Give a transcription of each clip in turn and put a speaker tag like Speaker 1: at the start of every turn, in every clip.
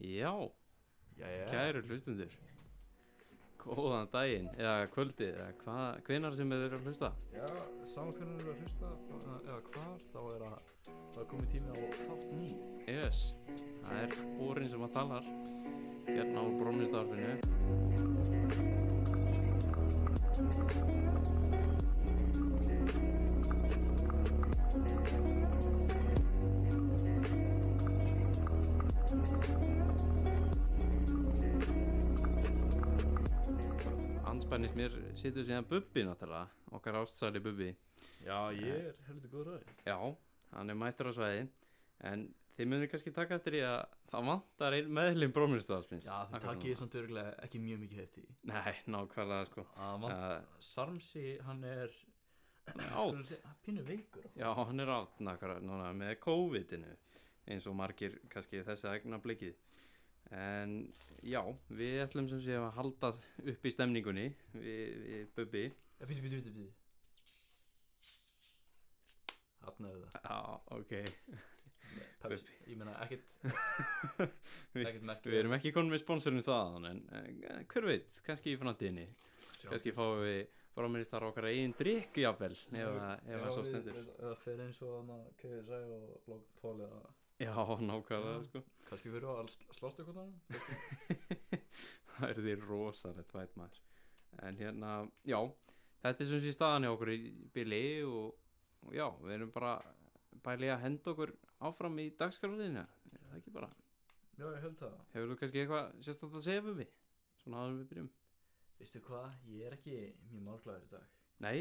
Speaker 1: Já,
Speaker 2: Jæja.
Speaker 1: kæru hlustundur Góðan daginn, eða kvöldið, eða hvað, hvenar sem þeir eru að hlusta
Speaker 2: Já, saman hvernig þú eru að hlusta þá- eða hvar, þá er að það er komið tími á þátt ný.
Speaker 1: Yes, það er bórin sem að talar Hérna úr brónistarfinu Anspænist mér situr síðan Bubbi náttúrulega, okkar ástsæli Bubbi
Speaker 2: Já, ég er heldur góð ræði.
Speaker 1: Já, hann er mættur á svæði En þið munir kannski taka eftir í að það vantar ein meðlum brómurstafsmins
Speaker 3: Já, þið takkið samt örgulega ekki mjög mikið hefti í.
Speaker 1: Nei, nákvæmlega sko
Speaker 2: Að mann,
Speaker 1: uh,
Speaker 2: Sarmsi, hann er... skulum
Speaker 1: Átt
Speaker 2: segja, hann er Pínu veikur.
Speaker 1: Já, hann er átt nákvæmlega núna með COVID-inu eins og margir kannski þessi egna blikið En já, við ætlum sem sé að halda upp í stemningunni við, við Bubbi
Speaker 3: Ja, bíti, bíti, bíti, bíti.
Speaker 2: Hann er það.
Speaker 1: Já, ok
Speaker 2: Pepsi. Ég meina, ekkert... ekkert merkið.
Speaker 1: Við erum ekki konum með sponsorinu þaðan en eh, hver veit, kannski í framtíðinni kannski fáum við fráministar okkar eigin drikk jafnvel ef að- ef að svo stendur
Speaker 2: Það fer eins og hann að kegja sæg og blogg pól eða...
Speaker 1: já, nákvæmlega sko
Speaker 2: Kanski fyrir að slást ykkur þannig?
Speaker 1: það er því rosalegt væt maður en hérna, já þetta er sem sé staðan hjá okkur í bili og, og já, við erum bara bælið að henda okkur áfram í dagskrálinu, er það ekki bara
Speaker 2: Já, ég held það.
Speaker 1: hefur þú kannski eitthvað sérstætt að segja við við svona aðum við byrjum
Speaker 3: Veistu hvað, ég er ekki mjög málglæður í dag.
Speaker 1: nei,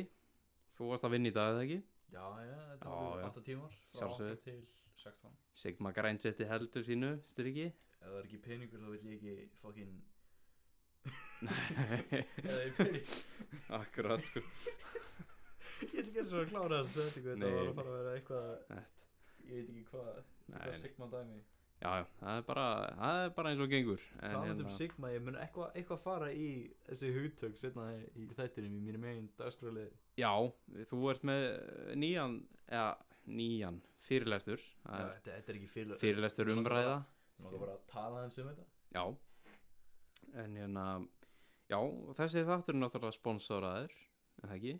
Speaker 1: þú varst að vinna í dag eða ekki
Speaker 2: Já, já, þetta
Speaker 1: Já,
Speaker 2: var
Speaker 1: já.
Speaker 2: 8 tímar frá 8
Speaker 1: Sjálfsögðu.
Speaker 2: til 16
Speaker 1: Sigma grænsetti heldur sínu, styrki
Speaker 3: Ef það er ekki peningur þá vil ég ekki fokkin...
Speaker 1: nei,
Speaker 3: Ef það er peningur...
Speaker 1: akkurat sko
Speaker 3: ég vil ekki eins og að klára þessu setningu,
Speaker 1: Nei.
Speaker 3: þetta var að fara að vera eitthvað...
Speaker 1: Nett.
Speaker 3: Ég veit ekki hvað,
Speaker 1: nei,
Speaker 2: Hvað Sigma dæmi?
Speaker 1: Já, já, það er bara, það er bara eins og gengur en, hérna-
Speaker 3: talað um Sigma, ég mun eitthvað, eitthvað fara í þessi hugtök setna í þættinum í mínum einn dagskráli.
Speaker 1: Já, þú ert með eh, nýjan, eða nýjan fyrirlestur það er
Speaker 3: Þetta, þetta er ekki fyrir...
Speaker 1: Fyrirlestur umræða
Speaker 3: Má ekki bara tala hans um þetta?
Speaker 1: Já En hérna, já, og þessi þáttur er náttúrulega sponsoraður Er það ekki?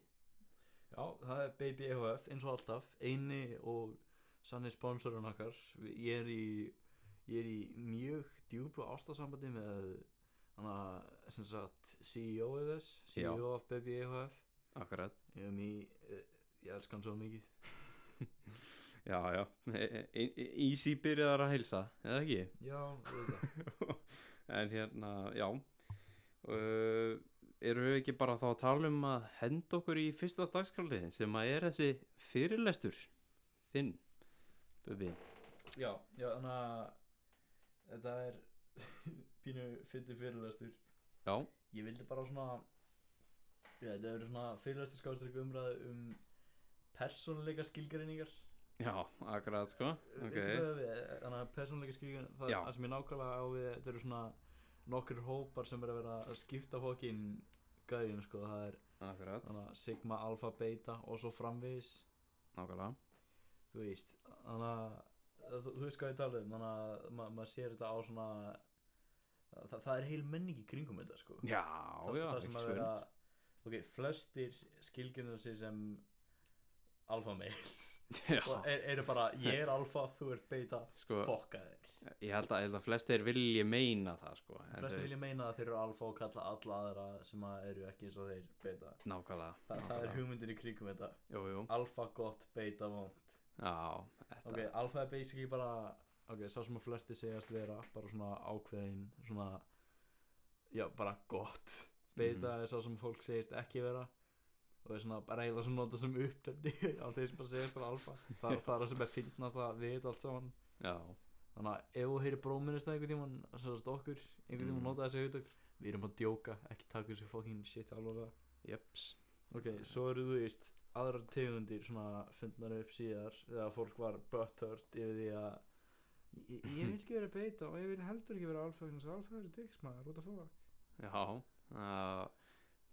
Speaker 3: Já, það er Baby EHF eins og alltaf, eini og sannig sponsorun okkar. Við- Ég er í, ég er í mjög djúbu ástasambandi með hana, sem sagt, E CEO-ið þess,
Speaker 1: Já.
Speaker 3: CEO of Baby EHF.
Speaker 1: Akkurat
Speaker 3: Ég er mjög, ég elska hann svo mikið.
Speaker 1: Já, já, e- e- e- easy byrjaðar að heilsa Er það ekki?
Speaker 3: Já, þetta.
Speaker 1: en hérna, já uh, Erum við ekki bara þá að tala um að henda okkur í fyrsta dagskráliðin sem að er þessi fyrirlestur þinn, Bubi
Speaker 2: Já, já, þannig að þetta er pínu fyndi fyrirlestur
Speaker 1: Já,
Speaker 2: Ég vildi bara svona já, Þetta eru svona fyrirlestur skástrík umræðu um persónuleika skilgreiningar
Speaker 1: já, akkurat sko
Speaker 2: Veistu
Speaker 1: okay.
Speaker 2: hvað við, þannig að persónuleika skilgreiningar það,
Speaker 1: Já.
Speaker 2: er- það sem ég nákvæmlega á við þetta eru svona nokkur hópar sem er að vera að skipta fókin gæðin sko, það er
Speaker 1: Akkurat,
Speaker 2: þannig að sigma, alfa, beta og svo framvegis
Speaker 1: nákvæmlega
Speaker 2: þú veist þannig að þú, þú veist hvað ég tala um þannig að ma- maður sér þetta á svona það, það er heil menning í kringum þetta sko
Speaker 1: Já,
Speaker 2: það,
Speaker 1: já,
Speaker 2: það
Speaker 1: ekki
Speaker 2: sem að
Speaker 1: spurning
Speaker 2: vera ok, flestir skilgjörnir sig sem alfa mails og
Speaker 1: Já,
Speaker 2: er, eru bara ég er alfa, þú ert beta
Speaker 1: sko,
Speaker 2: fokka þér,
Speaker 1: ég held að, held að flestir vilji meina það sko en
Speaker 2: flestir
Speaker 1: þú
Speaker 2: vilja meina að þeir eru alfa og kalla alla aðra sem að eru ekki eins og þeir beta
Speaker 1: veist, Nákvæmlega,
Speaker 2: Þa, það er
Speaker 1: nákvæmlega.
Speaker 2: hugmyndin í kringum þetta
Speaker 1: Jú, jú,
Speaker 2: alfa gott, beta vond
Speaker 1: já, þetta
Speaker 2: Ok, alfa er basically bara Ok, sá sem að flesti segjast vera Bara svona ákveðin Svona Já, bara gott Beta er sá sem fólk segist ekki vera Og er svona bara eiginlega svona nota sem upptöfni Á þeir sem bara segjast vera alfa það, það er það sem er fyndnast að við þetta allt saman
Speaker 1: Já,
Speaker 2: Þannig að ef þú heyrir bróminist einhvern tímann Sérst okkur, einhvern tímann
Speaker 1: Mhm.
Speaker 2: nota þessi hugtök Við erum að djóka, ekki taka þessu fucking shit alvarlega
Speaker 1: jöps
Speaker 2: Ok, svo eru þú veist aðrar tegundir svona fundnar upp síðar þegar fólk var butthurt yfir því að ég, ég vil ekki vera beita og ég vil heldur ekki vera alfa alfæðins alfæður er dyggsmaður út af fólk
Speaker 1: Já, uh,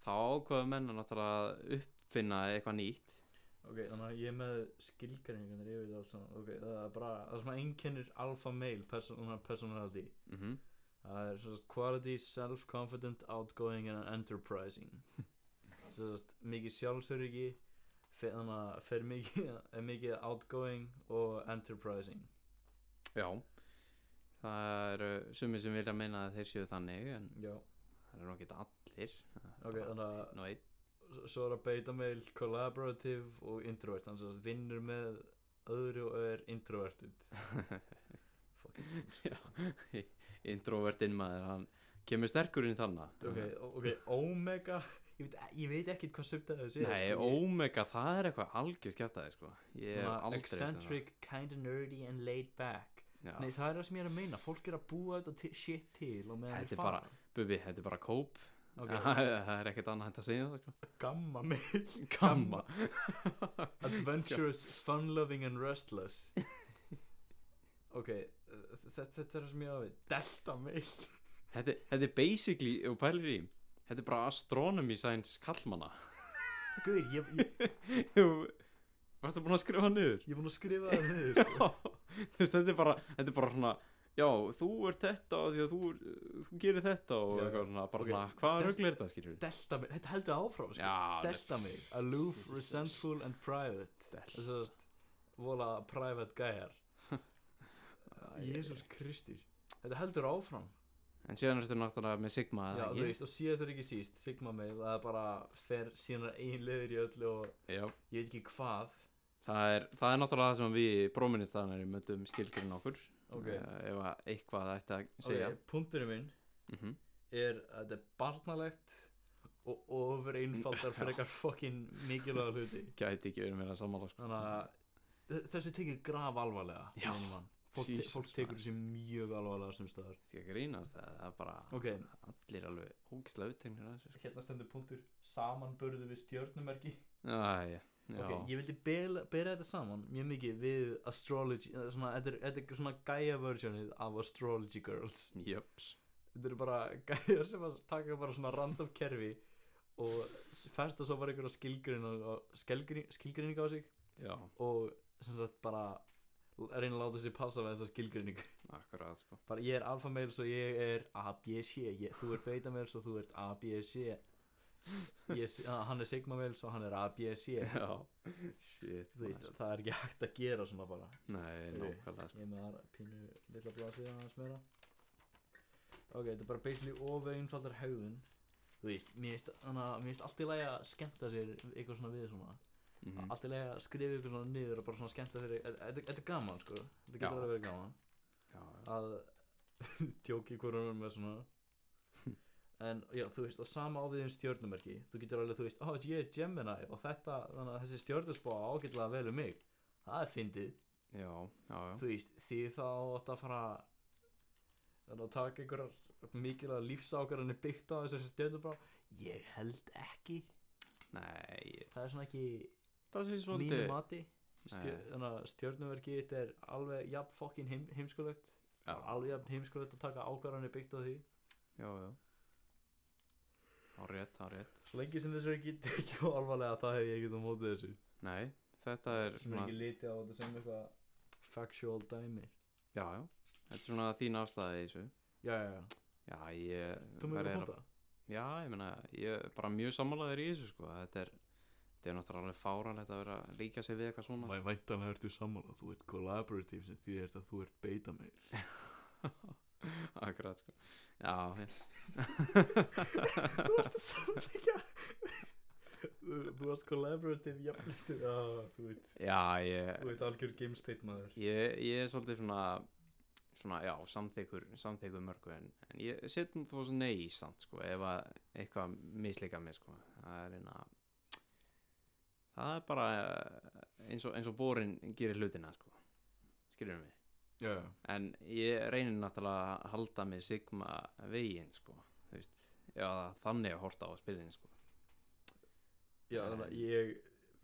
Speaker 1: þá ákvaðu menna náttúrulega að uppfinna eitthvað nýtt
Speaker 2: ok, þannig að ég er með skilgreiningarnir yfir þetta allt saman ok, það er bara, það sem að einkennir alfa male person, personality
Speaker 1: mm
Speaker 2: Mhm.
Speaker 1: -hmm.
Speaker 2: það er svona quality, self-confident, outgoing and enterprising svona mikið sjálfsöryggi fe- þannig að fer mikið, er mikið outgoing og enterprising
Speaker 1: Já Það eru sumir sem vilja meina að þeir séu þannig en
Speaker 2: já,
Speaker 1: það eru nokkið allir
Speaker 2: ok, þannig að
Speaker 1: Nú einn
Speaker 2: s- svo er að beita meil collaborative og introvert þannig að vinnur með öðru og er introverted Fucking
Speaker 1: Já, Introvertinn maður hann kemur sterkur inn þannig
Speaker 2: ok, o- ok, omega ég veit, ég veit ekkert hvað subtæðu sé
Speaker 1: Nei, Omega, það er eitthvað algjör kjæftæði sko Ég hef aldrei heyrt um það.
Speaker 2: eccentric, kinda nerdy and laid back
Speaker 1: Já.
Speaker 2: Nei, það er það sem ég er að meina, fólk er að búa þetta ti- shit til og meðan
Speaker 1: Þetta er bara- Bubi, þetta er bara kóp
Speaker 2: okay.
Speaker 1: Það er ekkert annað hægt að segja það sko
Speaker 2: Gamma meil
Speaker 1: Gamma
Speaker 2: Adventurous, fun loving and restless Ok, uh, þetta, þetta er það sem ég á við Delta meil
Speaker 1: þetta, þetta er basically, og pælir í Þetta er bara astronomy science kallmanna
Speaker 2: Guður, ég, ég,
Speaker 1: Varstu búin að skrifa hann niður?
Speaker 2: ég er búin að skrifa það niður sko.
Speaker 1: Já, þú veist, þetta er bara þetta er bara svona, já, þú ert þetta og því að þú, þú gerir þetta og
Speaker 2: Já, já.
Speaker 1: eitthvað svona, bara
Speaker 2: Ok.
Speaker 1: svona, hvað
Speaker 2: Del-
Speaker 1: rögl er þetta, skilur við?
Speaker 2: Delta meil, þetta heldur áfram sko.
Speaker 1: Já,
Speaker 2: Delta meil, aloof, resentful and private
Speaker 1: Delta.
Speaker 2: Þess að vola private gæjar Jésús Kristur Þetta heldur áfram
Speaker 1: En síðan ertu náttúrulega með Sigma
Speaker 2: Já,
Speaker 1: eða
Speaker 2: þú veist, og síðast er ekki síst, Sigma meil, það er bara fer síðan einn leiðir í öllu og
Speaker 1: já,
Speaker 2: ég veit ekki hvað.
Speaker 1: það er, það er náttúrulega það sem við bróministanari möndum skilgrinn okkur
Speaker 2: Ok,
Speaker 1: eh, ef að eitthvað ætti að segja
Speaker 2: ok, punkturinn minn
Speaker 1: mm -hmm.
Speaker 2: er að þetta er barnalegt og ofur einfaldar frekar fokkin mikilvæga hluti.
Speaker 1: Gæti ekki verið meira sammála sko.
Speaker 2: Þannig að þe- þessu tekið graf alvarlega,
Speaker 1: Já,
Speaker 2: meinum hann. Fólk, te
Speaker 1: Jesus,
Speaker 2: fólk tekur þessu mjög alvarlega sem staðar.
Speaker 1: Þetta er ekki að grínast það, það er bara
Speaker 2: Ok,
Speaker 1: allir alveg ógislega uttegnir að þessu sko.
Speaker 2: hérna stendur punktur samanburðu við stjörnumerki.
Speaker 1: Æja, já
Speaker 2: Ok, ég vildi bera, bera þetta saman mjög mikið við astrology eh, svona, þetta, er, þetta er svona gæja versjónið af astrology girls
Speaker 1: Jöps
Speaker 2: þetta eru bara gæjar sem að taka bara svona random kerfi og s- festa svo bara einhverja skilgreining skilgreining á sig
Speaker 1: Já,
Speaker 2: og sem sagt bara reyna að láta sér passa með þessa skilgreining
Speaker 1: akkurat sko
Speaker 2: bara ég er alfa meil svo ég er A, B, C ég, þú er beta meil svo þú ert A, B, C ég, er si- ah, hann er sigma meil svo hann er A, B, C
Speaker 1: Já, shit
Speaker 2: þú veist,
Speaker 1: maður.
Speaker 2: það er ekki hægt að gera svona bara
Speaker 1: Nei,
Speaker 2: Ok.
Speaker 1: nákvæmlega sko.
Speaker 2: ég er með aðra pínu lilla blasið aðeins meira ok, þetta er bara basically ofur einfaldar hegðun þú veist, mér veist, hana, mér veist allt í lagi að skemmta sér eitthvað svona við svona
Speaker 1: Mhm.
Speaker 2: allt í lagi að skrifa eitthvað svona niður og bara svona skemmta sér þetta þetta- þetta er gaman sko,
Speaker 1: Já.
Speaker 2: þetta getur alveg verið gaman
Speaker 1: Já, já.
Speaker 2: að tjóki hverjum með svona en já, þú veist, og sama á við um stjörnumerki þú getur alveg, þú veist, ó, ég er Gemini og þetta, þannig að þessi stjörnusbá ágætlega vel um mig, það er fyndið
Speaker 1: já, já, já
Speaker 2: þú veist, því þá átt að fara þannig að taka einhverjar mikilvæg lífsákarinn er byggt á þessu stjöndu bara ég held ekki,
Speaker 1: Nei,
Speaker 2: það er svona ekki
Speaker 1: það sé
Speaker 2: mínu
Speaker 1: svolítið
Speaker 2: mati Stjör,
Speaker 1: Nei.
Speaker 2: þannig að stjörnuverki þetta er alveg jafn fokkin heim, heimskulegt
Speaker 1: Já,
Speaker 2: alveg jafn heimskulegt að taka ákvarðanir byggt á því
Speaker 1: já, já Á rétt, á rétt
Speaker 2: svo lengi sem þessu er ekki tekið á alvarlega það hef ég ekkert á móti þessu
Speaker 1: Nei, þetta er
Speaker 2: sem er
Speaker 1: svona
Speaker 2: ekki litið á þetta sem eitthvað factual dæmi
Speaker 1: Já, já, þetta er svona þín afstæði í þessu
Speaker 2: já, já, já,
Speaker 1: Já, ég hérna-
Speaker 2: þú mér
Speaker 1: verð
Speaker 2: að
Speaker 1: eiginlega-
Speaker 2: hóta
Speaker 1: Já, ég meina, ég er bara mjög sammálaður í þessu sko Þetta er, þetta er náttúrulega alveg fáránlegt að vera að líka sig við eitthvað svona
Speaker 3: Væ, væntanlega ertu sammála, þú ert collaborative sem því er að þú ert beta meil
Speaker 1: Akkurat sko Já, já
Speaker 2: Þú varst að samleika Þú þú varst collaborative jafnlítið Já, þú veit
Speaker 1: Já, ég
Speaker 2: Þú veit algjör game state maður
Speaker 1: ég, ég er svolítið svona svona, já, samþykkur samþykkur mörgu en, en ég setjum þó svo nei samt, sko, ef að eitthvað mislika mig, sko það er einna það er bara eh, eins og, eins og borin gerir hlutina, sko skiljum við,
Speaker 3: Já, já
Speaker 1: en ég reynir náttúrulega að halda mig sigma veginn, sko, þú veist já, þannig að horta á spilin, sko
Speaker 2: Já, þannig að ég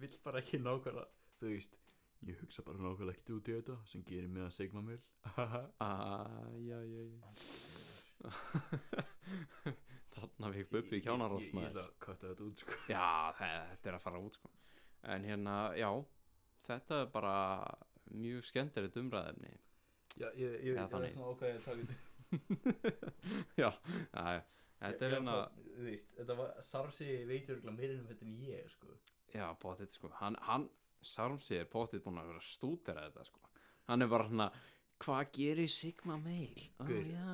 Speaker 2: vill bara ekki nákvæmlega
Speaker 3: Þú veist, ég hugsa bara nákvæmlega ekkert út í þetta sem gerir mig að sigma meil Haha.
Speaker 1: Æjæjæj Þarna við bubbi
Speaker 3: Ég- ég-
Speaker 1: kjánarótt
Speaker 3: Ég ég ætla að kötta þetta út sko
Speaker 1: Já, þe- þetta er að fara út sko. en hérna, já þetta er bara mjög skemmtilegt umræðefni
Speaker 4: Já, ég, ég, ég,
Speaker 1: Já,
Speaker 4: ég
Speaker 1: þannig.
Speaker 4: er svona ákvæðið að taka
Speaker 1: já, já, þetta
Speaker 4: Ég-
Speaker 1: er
Speaker 4: ég
Speaker 1: hérna
Speaker 4: bara- Þú veist, þetta var Sarsi veitur ekki meira um þetta en ég, sko
Speaker 1: já, potið sko, hann, hann Sarmsi er potið búin að vera að stútera þetta sko, hann er bara hérna hvað gerir Sigma Meil? Ó
Speaker 2: Gaur.
Speaker 1: já,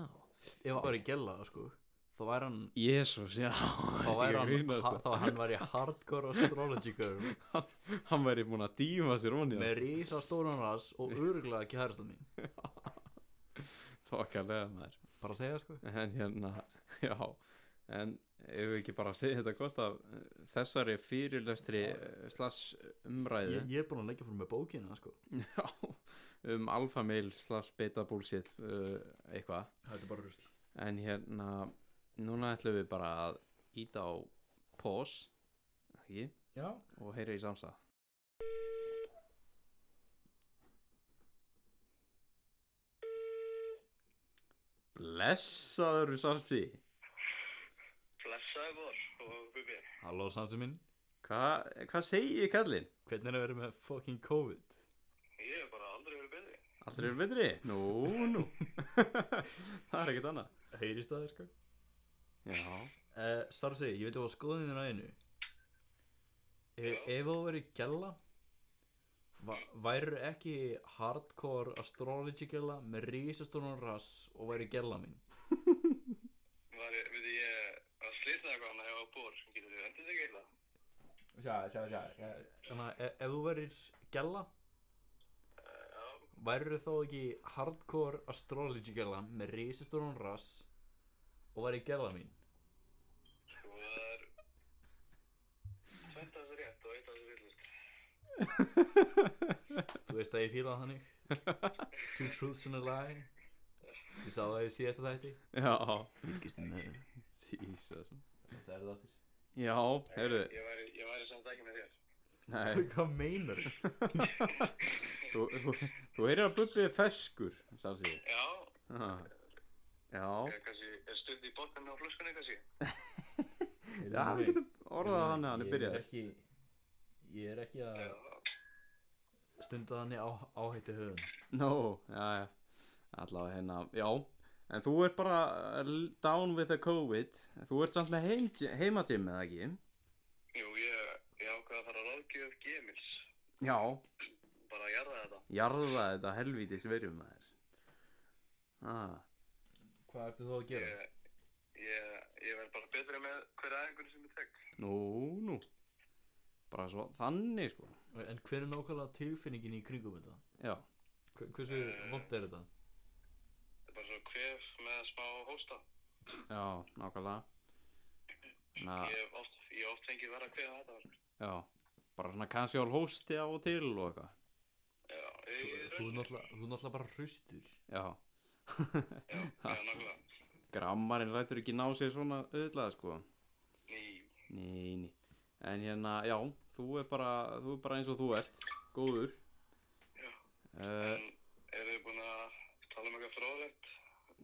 Speaker 2: Ef hann væri gellaða sko Þá væri hann
Speaker 1: Jésús, já
Speaker 2: Þá
Speaker 1: Ertu ekki að
Speaker 2: væri hann,
Speaker 1: grínast,
Speaker 2: ha,
Speaker 1: sko?
Speaker 2: þá hann væri hardcore astrology girl
Speaker 1: hann væri búin að dýma sér onni
Speaker 2: Með rísa stóran ras og öruglega kærasta mín
Speaker 1: þokkalega maður
Speaker 2: Bara að segja sko
Speaker 1: en hérna, já en ef við ekki bara að segja þetta gott af eh, þessari fyrirlestri eh, slash umræðu
Speaker 2: Ég, ég er búin að leggja fyrir með bókina sko
Speaker 1: já, um alfamil slash beta bullshit uh, eitthvað
Speaker 4: Þetta er bara rusl
Speaker 1: En hérna, núna ætlum við bara að íta á pause, ekki,
Speaker 4: Já,
Speaker 1: og heyra í samstað. Blessaður Sarsi,
Speaker 5: Blessaði vor og Bubi.
Speaker 2: Halló Samsi mín
Speaker 1: Hva- hvað segir kallinn?
Speaker 2: Hvernig er að vera með fucking COVID?
Speaker 5: Ég hef bara aldrei verið betri.
Speaker 1: Allir eru betri? Nú, nú, það er ekkert annað.
Speaker 2: Heyrist það þér sko
Speaker 1: Já,
Speaker 2: uh, Starsi, ég veit að skoða þín ræðinu
Speaker 5: Já.
Speaker 2: Ef ef þú verið gæla Væru ekki hardcore astrology gæla Með rísastórun rass Og væri gæla mín
Speaker 5: Var, við ég að slitna eitthvað hann að hefa bor sem getur við endur þig eitthvað.
Speaker 4: sjá, sjá, sjá já.
Speaker 2: Eh, Þannig að ef, ef þú verir gæla
Speaker 5: Já,
Speaker 2: Væru þá ekki hardcore astrology gæla Með rísastórun rass Og væri gæla mín
Speaker 5: þú var tvent af þessu rétt og eitt af þessu villust.
Speaker 2: Þú veist að ég fíla það þannig Two truths and a lie Ég sá það í síðasta þætti
Speaker 1: já,
Speaker 2: Fylgist þið með
Speaker 1: Jesus.
Speaker 4: Þetta er það aftur
Speaker 1: Já, heyrðu,
Speaker 5: Ég væri, ég væri samt ekki með þér.
Speaker 1: nei.
Speaker 2: Hvað meinar
Speaker 1: þú, þú, þú heyrir að Bubbi er feskur Sarsi
Speaker 5: Já,
Speaker 1: Ah. Já,
Speaker 5: ég kannski er stund í botnum á flöskunni kannski.
Speaker 1: já við getum orðað hann að hann er
Speaker 4: Ég
Speaker 1: byrjað
Speaker 4: ekki, Ég er ekki að
Speaker 5: Já,
Speaker 2: stunda þannig á, áhættu höfum
Speaker 1: Nó, já, já Allavega hérna, já En þú ert bara l- down with the COVID Þú ert samt með heim, heimatím eða ekki
Speaker 5: jú, ég, ég ákvaða að fara að ráðgjöf gemils.
Speaker 1: Já,
Speaker 5: Bara að jarða þetta.
Speaker 1: jarða þetta helvíti sverjum maður ah,
Speaker 4: Hvað ertu þú að gera?
Speaker 5: Ég, ég, ég verð bara betri með hverja aðeinkunni sem ég tek.
Speaker 1: Nú, nú Bara svo, þannig sko
Speaker 2: en hver er nákvæmlega tilfinningin í kringum
Speaker 1: Já,
Speaker 2: þetta Hver- hversu
Speaker 5: Eh,
Speaker 2: vond er þetta
Speaker 5: Þetta er bara svo kvef með smá hósta.
Speaker 1: já, nákvæmlega Na,
Speaker 5: Ég hef oft, ég hef oft fengið verra kvef að þetta. sko.
Speaker 1: Já, bara svona casual hosti á og til og eitthvað
Speaker 5: Já,
Speaker 2: þú, þú
Speaker 5: ég,
Speaker 2: er náttúrulega þú er náttúrulega bara hraustur
Speaker 1: Já,
Speaker 5: Já, já, nákvæmlega.
Speaker 1: grammarinn lætur ekki ná sér svona auðvitað sko
Speaker 5: Ný,
Speaker 1: Nei, nei En hérna, já, þú er bara, þú er bara eins og þú ert Góður
Speaker 5: Já.
Speaker 1: uh,
Speaker 2: Eh.
Speaker 5: en eru þið búin að tala um eitthvað fróðlegt?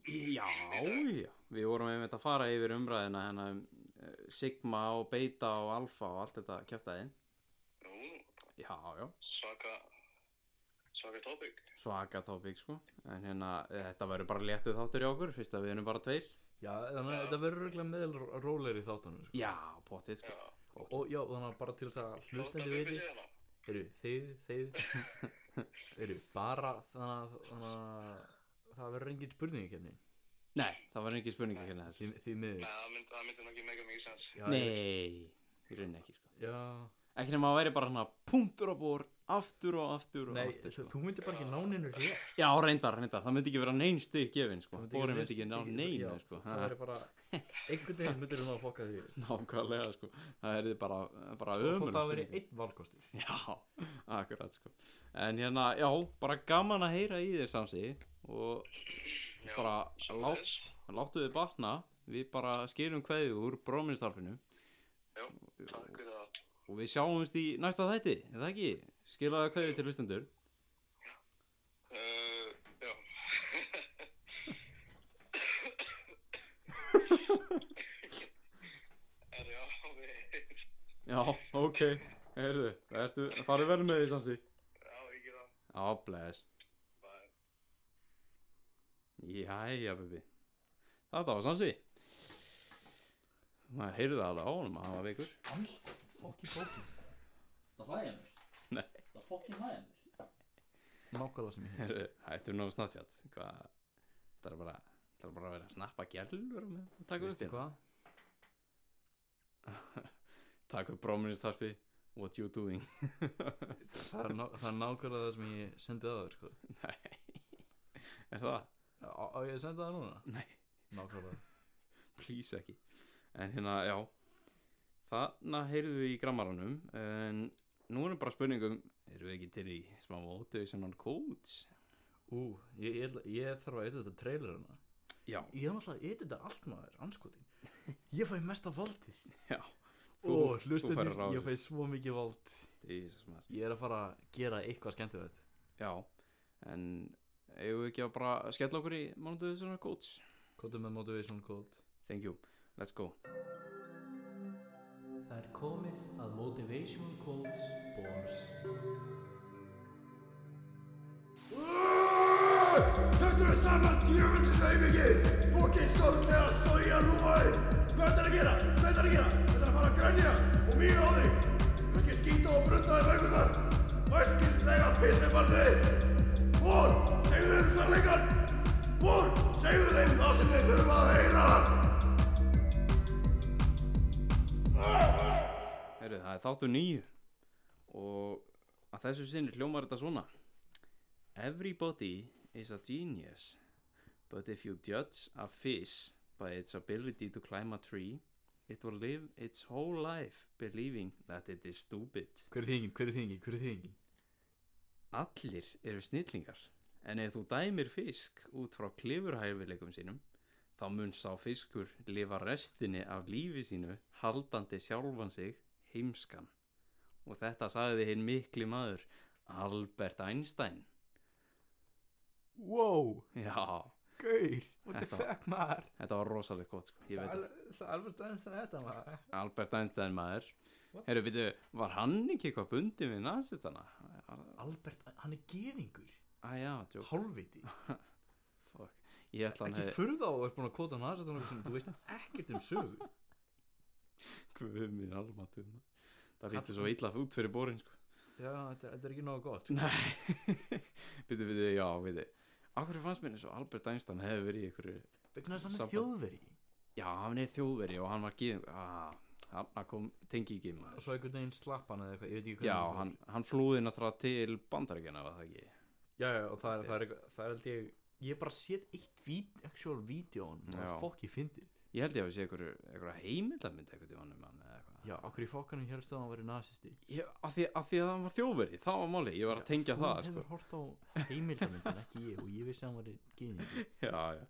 Speaker 1: Já, já Við vorum einmitt að fara yfir umræðina hérna um uh, Sigma og Beta og Alfa og allt þetta kjæftæði
Speaker 5: Nú,
Speaker 1: Já, já,
Speaker 5: svaka, svaka tópík.
Speaker 1: svaka tópík sko En hérna, þetta verður bara léttuð þáttur í okkur Fyrst að við erum bara tveir
Speaker 2: já þannig að
Speaker 5: Já.
Speaker 2: þetta verður regla meðal róleir í þáttunum sko.
Speaker 1: Já, potið
Speaker 5: Já.
Speaker 1: sko
Speaker 2: og já þannig að bara til þess að hlustandi
Speaker 5: Láta
Speaker 2: viti
Speaker 5: Bubbi segja það.
Speaker 2: eru þið þið eru bara þannig að, þannig að það verður engin spurningi kemni
Speaker 1: Nei, það var ekki spurning að hérna þessu
Speaker 2: því, því miður
Speaker 5: Nei, það myndi, það myndi nokkið mega mikið sens.
Speaker 2: já,
Speaker 1: Nei, í rauninni ekki sko
Speaker 2: já,
Speaker 1: Ekki nema að væri bara hana punktur á bor Aftur og aftur og
Speaker 2: nei,
Speaker 1: aftur sko.
Speaker 2: þú myndir bara ekki ná nynnu rétt sko.
Speaker 1: Já, reyndar, reyndar, það myndi ekki vera neyn stig gefin sko.
Speaker 2: Þú myndir
Speaker 1: Borin
Speaker 2: neinn
Speaker 1: myndi ekki ná
Speaker 2: stig- já,
Speaker 1: neynu sko.
Speaker 2: það
Speaker 1: Ha,
Speaker 2: verður bara einhvern veginn myndir þú ná að fokka því
Speaker 1: Nákvæmlega sko. Það er bara, bara
Speaker 2: og þótt
Speaker 1: ömurleg
Speaker 2: að veri
Speaker 1: spurning.
Speaker 2: einn valkostur
Speaker 1: Já, akkurat sko. En hérna, já, bara gaman að heyra í þér samsi Og
Speaker 5: Já,
Speaker 1: bara lát,
Speaker 5: sömuleiðis.
Speaker 1: láttu þið batna Við bara skiljum kveðið úr bróminstarfinu
Speaker 5: Já, Takk fyrir það.
Speaker 1: Og við sjáumst í næsta þætti, er það ekki? Skilaðu kveðið til hlustendur
Speaker 5: Uh, já. Herra, já, við...
Speaker 1: Já, ok Heyrðu, ertu, farið verið með því samsi
Speaker 5: Já, ég gera það.
Speaker 1: Á, bless
Speaker 5: Bye.
Speaker 1: Jæja, bubbi Þetta var samsi Maður heyrði það alveg á honum að hann var veikur
Speaker 3: Hans, fokki fokki Það hlæði hann
Speaker 1: Nei.
Speaker 3: Það fokki hlæði hann
Speaker 2: Nákvæmlega sem ég hef
Speaker 1: Heyrðu, Þetta er náttúrulega snartjátt Hvað, þetta er bara Það er bara að vera að snappa gælur og taka upp
Speaker 2: Veistu
Speaker 1: hérna.
Speaker 2: hvað?
Speaker 1: Taka upp bróministarpi What you doing
Speaker 2: Það er, ná, það er nákvæmlega það sem ég sendið að það sko.
Speaker 1: Nei Er það?
Speaker 2: Á, á ég að senda það núna?
Speaker 1: Nei,
Speaker 2: Nákvæmlega
Speaker 1: please ekki En hérna, já Þarna heyrðu við í grammaranum En nú erum bara spurningum Erum við ekki til í smá motivational coach?
Speaker 2: Ú, ég, ég, ætla- ég þarf að eitthvað þetta trailer hana
Speaker 1: Já,
Speaker 2: Ég þarf alltaf að eitthvað þetta allt maður, anskotin Ég fæ mesta valdið
Speaker 1: já
Speaker 2: Ó,
Speaker 1: færð
Speaker 2: hlustendur,
Speaker 1: ráðið.
Speaker 2: ég fæ svo mikið vald
Speaker 1: Jesus, maður.
Speaker 2: Ég er að fara að gera eitthvað skemmtilegt
Speaker 1: Já, en eigum við ekki að bara skella okkur í motivational coach?
Speaker 2: Kóttu með motivation code
Speaker 1: Thank you, let's go
Speaker 3: Það er komið að Motivation Quotes Bors
Speaker 6: Takk fyrir saman, djöfum til sæmingi Fokkin sorglega soja rúmaði Hvað þetta er að gera? Hvað þetta er að gera? Þetta er að fara að grænja og mýra á þig Kannski skýta og brunda í vöggunar Væskilslega pissi barði Vor, segðu þeim sannleikan Vor, segðu þeim það sem þeir þurfa að heyra
Speaker 1: Heyrðu, það er þáttu nýju og að þessu sinni hljómar þetta svona Everybody is a genius but if you judge a fish by its ability to climb a tree it will live its whole life believing that it is stupid
Speaker 2: Hver er þýðingin, hver er þýðingin, hver er þýðingin?
Speaker 1: Allir eru snillingar en ef þú dæmir fisk út frá klifurhæfileikum sínum þá mun sá fiskur lifa restinni af lífi sínu haldandi sjálfan sig heimskan og þetta sagði hinn mikli maður Albert Einstein
Speaker 2: Wow,
Speaker 1: Já,
Speaker 2: gauð,
Speaker 1: what the Þetta-
Speaker 2: fuck maður
Speaker 1: þetta var rosalega gott sko, ég veit það
Speaker 2: Það er alveg dæmis að þetta maður
Speaker 1: Albert Einstein maður
Speaker 2: What?
Speaker 1: Herru, veitu, var hann ekki eitthvað bundið við nasitana?
Speaker 2: Albert, hann er geðingur
Speaker 1: Æja, tjók,
Speaker 2: Hálfviti
Speaker 1: fuck Ég ætla hann
Speaker 2: Ekki
Speaker 1: hefði,
Speaker 2: furða á að er búin að kóta hann aðsett hann Þú veist ekkert um sögu
Speaker 1: guðmið almatum Það lítur svo illa út fyrir borin sko
Speaker 2: Já, þetta, þetta er ekki nógu gott sko.
Speaker 1: Nei, byrju, byrju, já, byrju Akkur fannst mér eins og Albert Einstein hefði verið í ykkur
Speaker 2: Vegna þess að hann er
Speaker 1: Samband.
Speaker 2: þjóðveri
Speaker 1: Já, hann er þjóðveri og hann var gíðing ah, Hann kom tengi ekki
Speaker 2: Og
Speaker 1: maður
Speaker 2: svo einhvern veginn slapp hann eða eitthvað Ég veit ekki hvernig
Speaker 1: Já,
Speaker 2: það fór.
Speaker 1: hann, hann flúði náttúrulega til bandaríkjana var það ekki
Speaker 2: Já, já, og það er, það er, eitthvað- það er held ég Ég hef bara séð eitt vít, actual vídeo á hann Það
Speaker 1: Já.
Speaker 2: er fokk ég fyndi
Speaker 1: Ég held ég að við sé ykkur, ykkur heimildamynd eitthvað tímann um hann eða eitthvað
Speaker 2: Já, okkur í fokkanum helstu að hann verið nazisti
Speaker 1: ég, að, því, að því að hann var þjóðveri, það var máli Ég var að tengja það,
Speaker 2: Þú
Speaker 1: sko
Speaker 2: hefur hort á heimildamindin, ekki ég Og ég vissi að hann verið geðingur
Speaker 1: Já, já,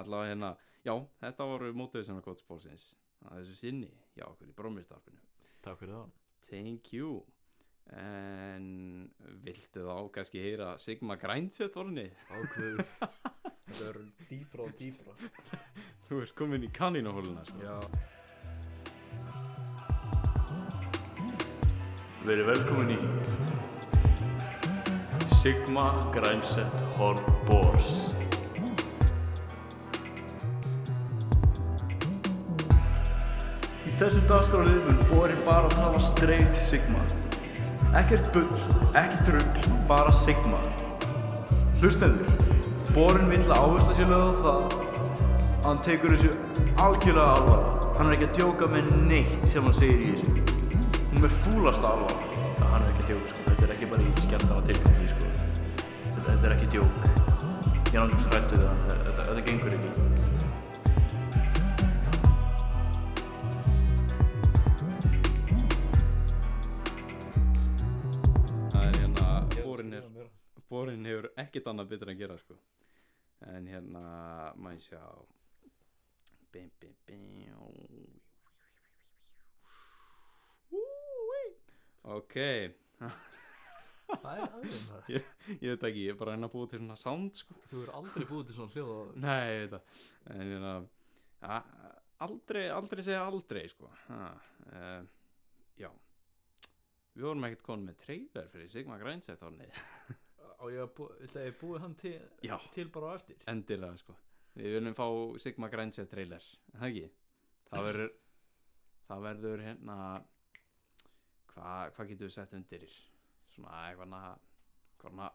Speaker 1: allavega hérna Já, þetta voru mótið sem að gott spórsins Að þessu sinni, já, okkur í brómistarpinu
Speaker 2: Takk fyrir það
Speaker 1: Thank you En viltu þá kannski heyra Sigma Grindset orni?
Speaker 2: Ákveður Þetta er dýbra og dýbra
Speaker 1: Þú ert komin í kaninahóluna sko.
Speaker 2: Já
Speaker 7: Verið velkomin í Sigma Grænset Horn Bors Í þessu dagskrálið mun Borin bara tala straight Sigma Ekkert bull, ekkert rugl, bara Sigma Hlustendur, Borin vill að áhersla sér lögð á það að hann tekur þessu algjörlega alvar Hann er ekki að djóka með neitt sem hann segir í þessu hún er fúlast alvar það hann er ekki djók sko, þetta er ekki bara í skemmtana tilgangi sko þetta, þetta er ekki djók ég er alveg svo hrættu það þetta, þetta gengur ekki
Speaker 1: Það er hérna borin, er, borin hefur ekkert annað betur en gera sko. En hérna maður sjá bim, bim, bim. Úi. Ok
Speaker 2: Það er aðeins það
Speaker 1: Ég veit ekki, ég er bara að reyna að búa til svona sound sko.
Speaker 2: Þú hefur aldrei búið til svona hljóð á
Speaker 1: Nei, ég veit það En hérna a- Aldrei, aldrei segja aldrei sko ha, uh, Já eh, við vorum ekkert konum með trailer fyrir Sigma Grænsætt árnið
Speaker 2: á ég að bú, þetta er búið hann til,
Speaker 1: Já.
Speaker 2: til bara á eftir
Speaker 1: endilega sko við viljum fá Sigma Grænsætt trailer er það ekki það verður það verður hérna hvað hva getum við sett undir svona eitthvað na, svona,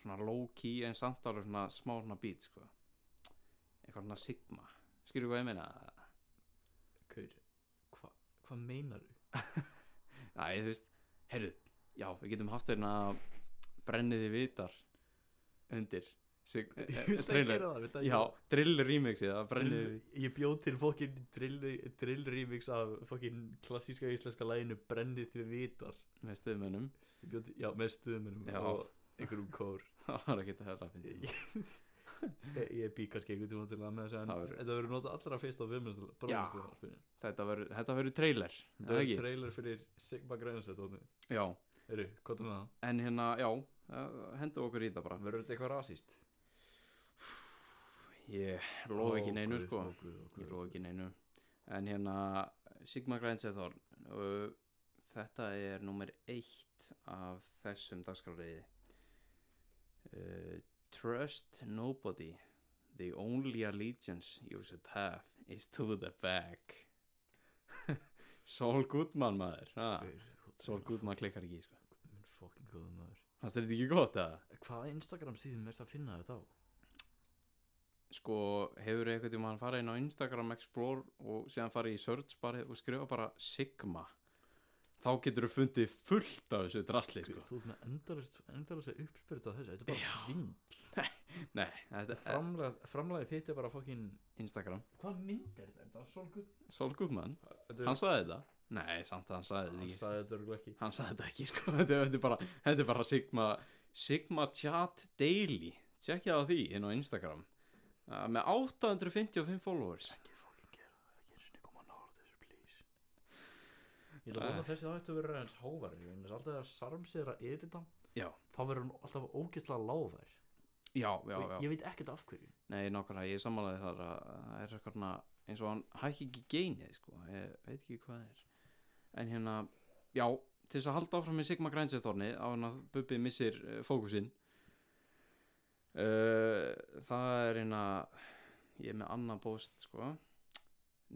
Speaker 1: svona low key en samt alveg svona smá svona beat sko eitthvað svona Sigma skilur hvað ég meina
Speaker 2: Kaur, hva, hvað meinar þú?
Speaker 1: Æ, þú veist, heyrðu, já, við getum haft hérna brenniði vitar undir sig, eh, eh, trailer.
Speaker 2: það, vilt
Speaker 1: Já, drill remixið að brenniði
Speaker 2: Drill- Ég bjóð til fokkin drill, drill remix af fokkin klassíska íslenska læginu Brennið til vitar
Speaker 1: með stuðmönnum
Speaker 2: Ég bjó til, Já, með stuðmunum
Speaker 1: Já.
Speaker 2: og einhverjum kór
Speaker 1: það var ekki þetta að
Speaker 2: Ég,
Speaker 1: finna
Speaker 2: ég, ég bý kannski einhvern tíma til að með þess að
Speaker 1: Það verður-
Speaker 2: Þetta verður nota allra fyrst á viðmjöndstu
Speaker 1: Já. þetta verður þetta verður trailer
Speaker 2: Það
Speaker 1: þetta
Speaker 2: er
Speaker 1: ekki,
Speaker 2: trailer fyrir Sigma Grænasett
Speaker 1: já,
Speaker 2: Eru, hvað er það?
Speaker 1: en hérna, já eh, hendur okkur í þetta bara
Speaker 2: Verður þetta eitthvað rasist?
Speaker 1: ég lofa ekki neinu sko
Speaker 2: guð, ó,
Speaker 1: ég lofa ekki neinu en hérna Sigma Grænseðorn uh, þetta er nummer eitt af þessum dagskráriði uh, Trust nobody the only allegiance you should have is to the back Saul Goodman maður ha? Saul Goodman klikkar ekki sko.
Speaker 2: Minn fokkin góðu maður
Speaker 1: fannst þér þetta ekki gott að
Speaker 2: Hvaða Instagram síðum er að finna þetta á?
Speaker 1: sko hefur eitthvað tíma hann farið inn á Instagram Explore og síðan farið í search bara og skrifa bara Sigma þá getur þú fundið fullt af þessu drasli sko.
Speaker 2: Þú ert með endalist, endalist uppspyrta þessu Þetta er bara svinn
Speaker 1: nei, þetta er
Speaker 2: framlega, framlega þitt er bara fokkin
Speaker 1: Instagram
Speaker 2: Hvað mynd er þetta? Þetta er svolgut
Speaker 1: Saul Goodman,
Speaker 2: Þetta
Speaker 1: hann sagði þetta nei, samt að hann sagði þetta
Speaker 2: Hann
Speaker 1: ekki sko.
Speaker 2: sagði þetta örugglega ekki
Speaker 1: hann sagði þetta ekki sko. þetta, er- þetta, er bara, þetta er bara Sigma Sigma Chat Daily tjekkja á því inn á Instagram uh, með 855 followers
Speaker 2: Ég ætla að vona að þessi þáttu verður aðeins háværi Þannig að alltaf þegar Sarms er að edita
Speaker 1: Já.
Speaker 2: Þá verður hann alltaf ógeðslega lágvær
Speaker 1: já, já,
Speaker 2: Og
Speaker 1: já
Speaker 2: Ég veit ekkert af hverju
Speaker 1: Nei, nákvæmlega, ég er sammálaði þar að að það er eitthvað svona- eins og hann hækki ekki geinið, sko, ég veit ekki hvað það er. En hérna, já, til þess að halda áfram með Sigma Grænsetorni á hann að Bubbi missir uh, fókusinn. Uh, það er hérna, ég er með annað post, sko.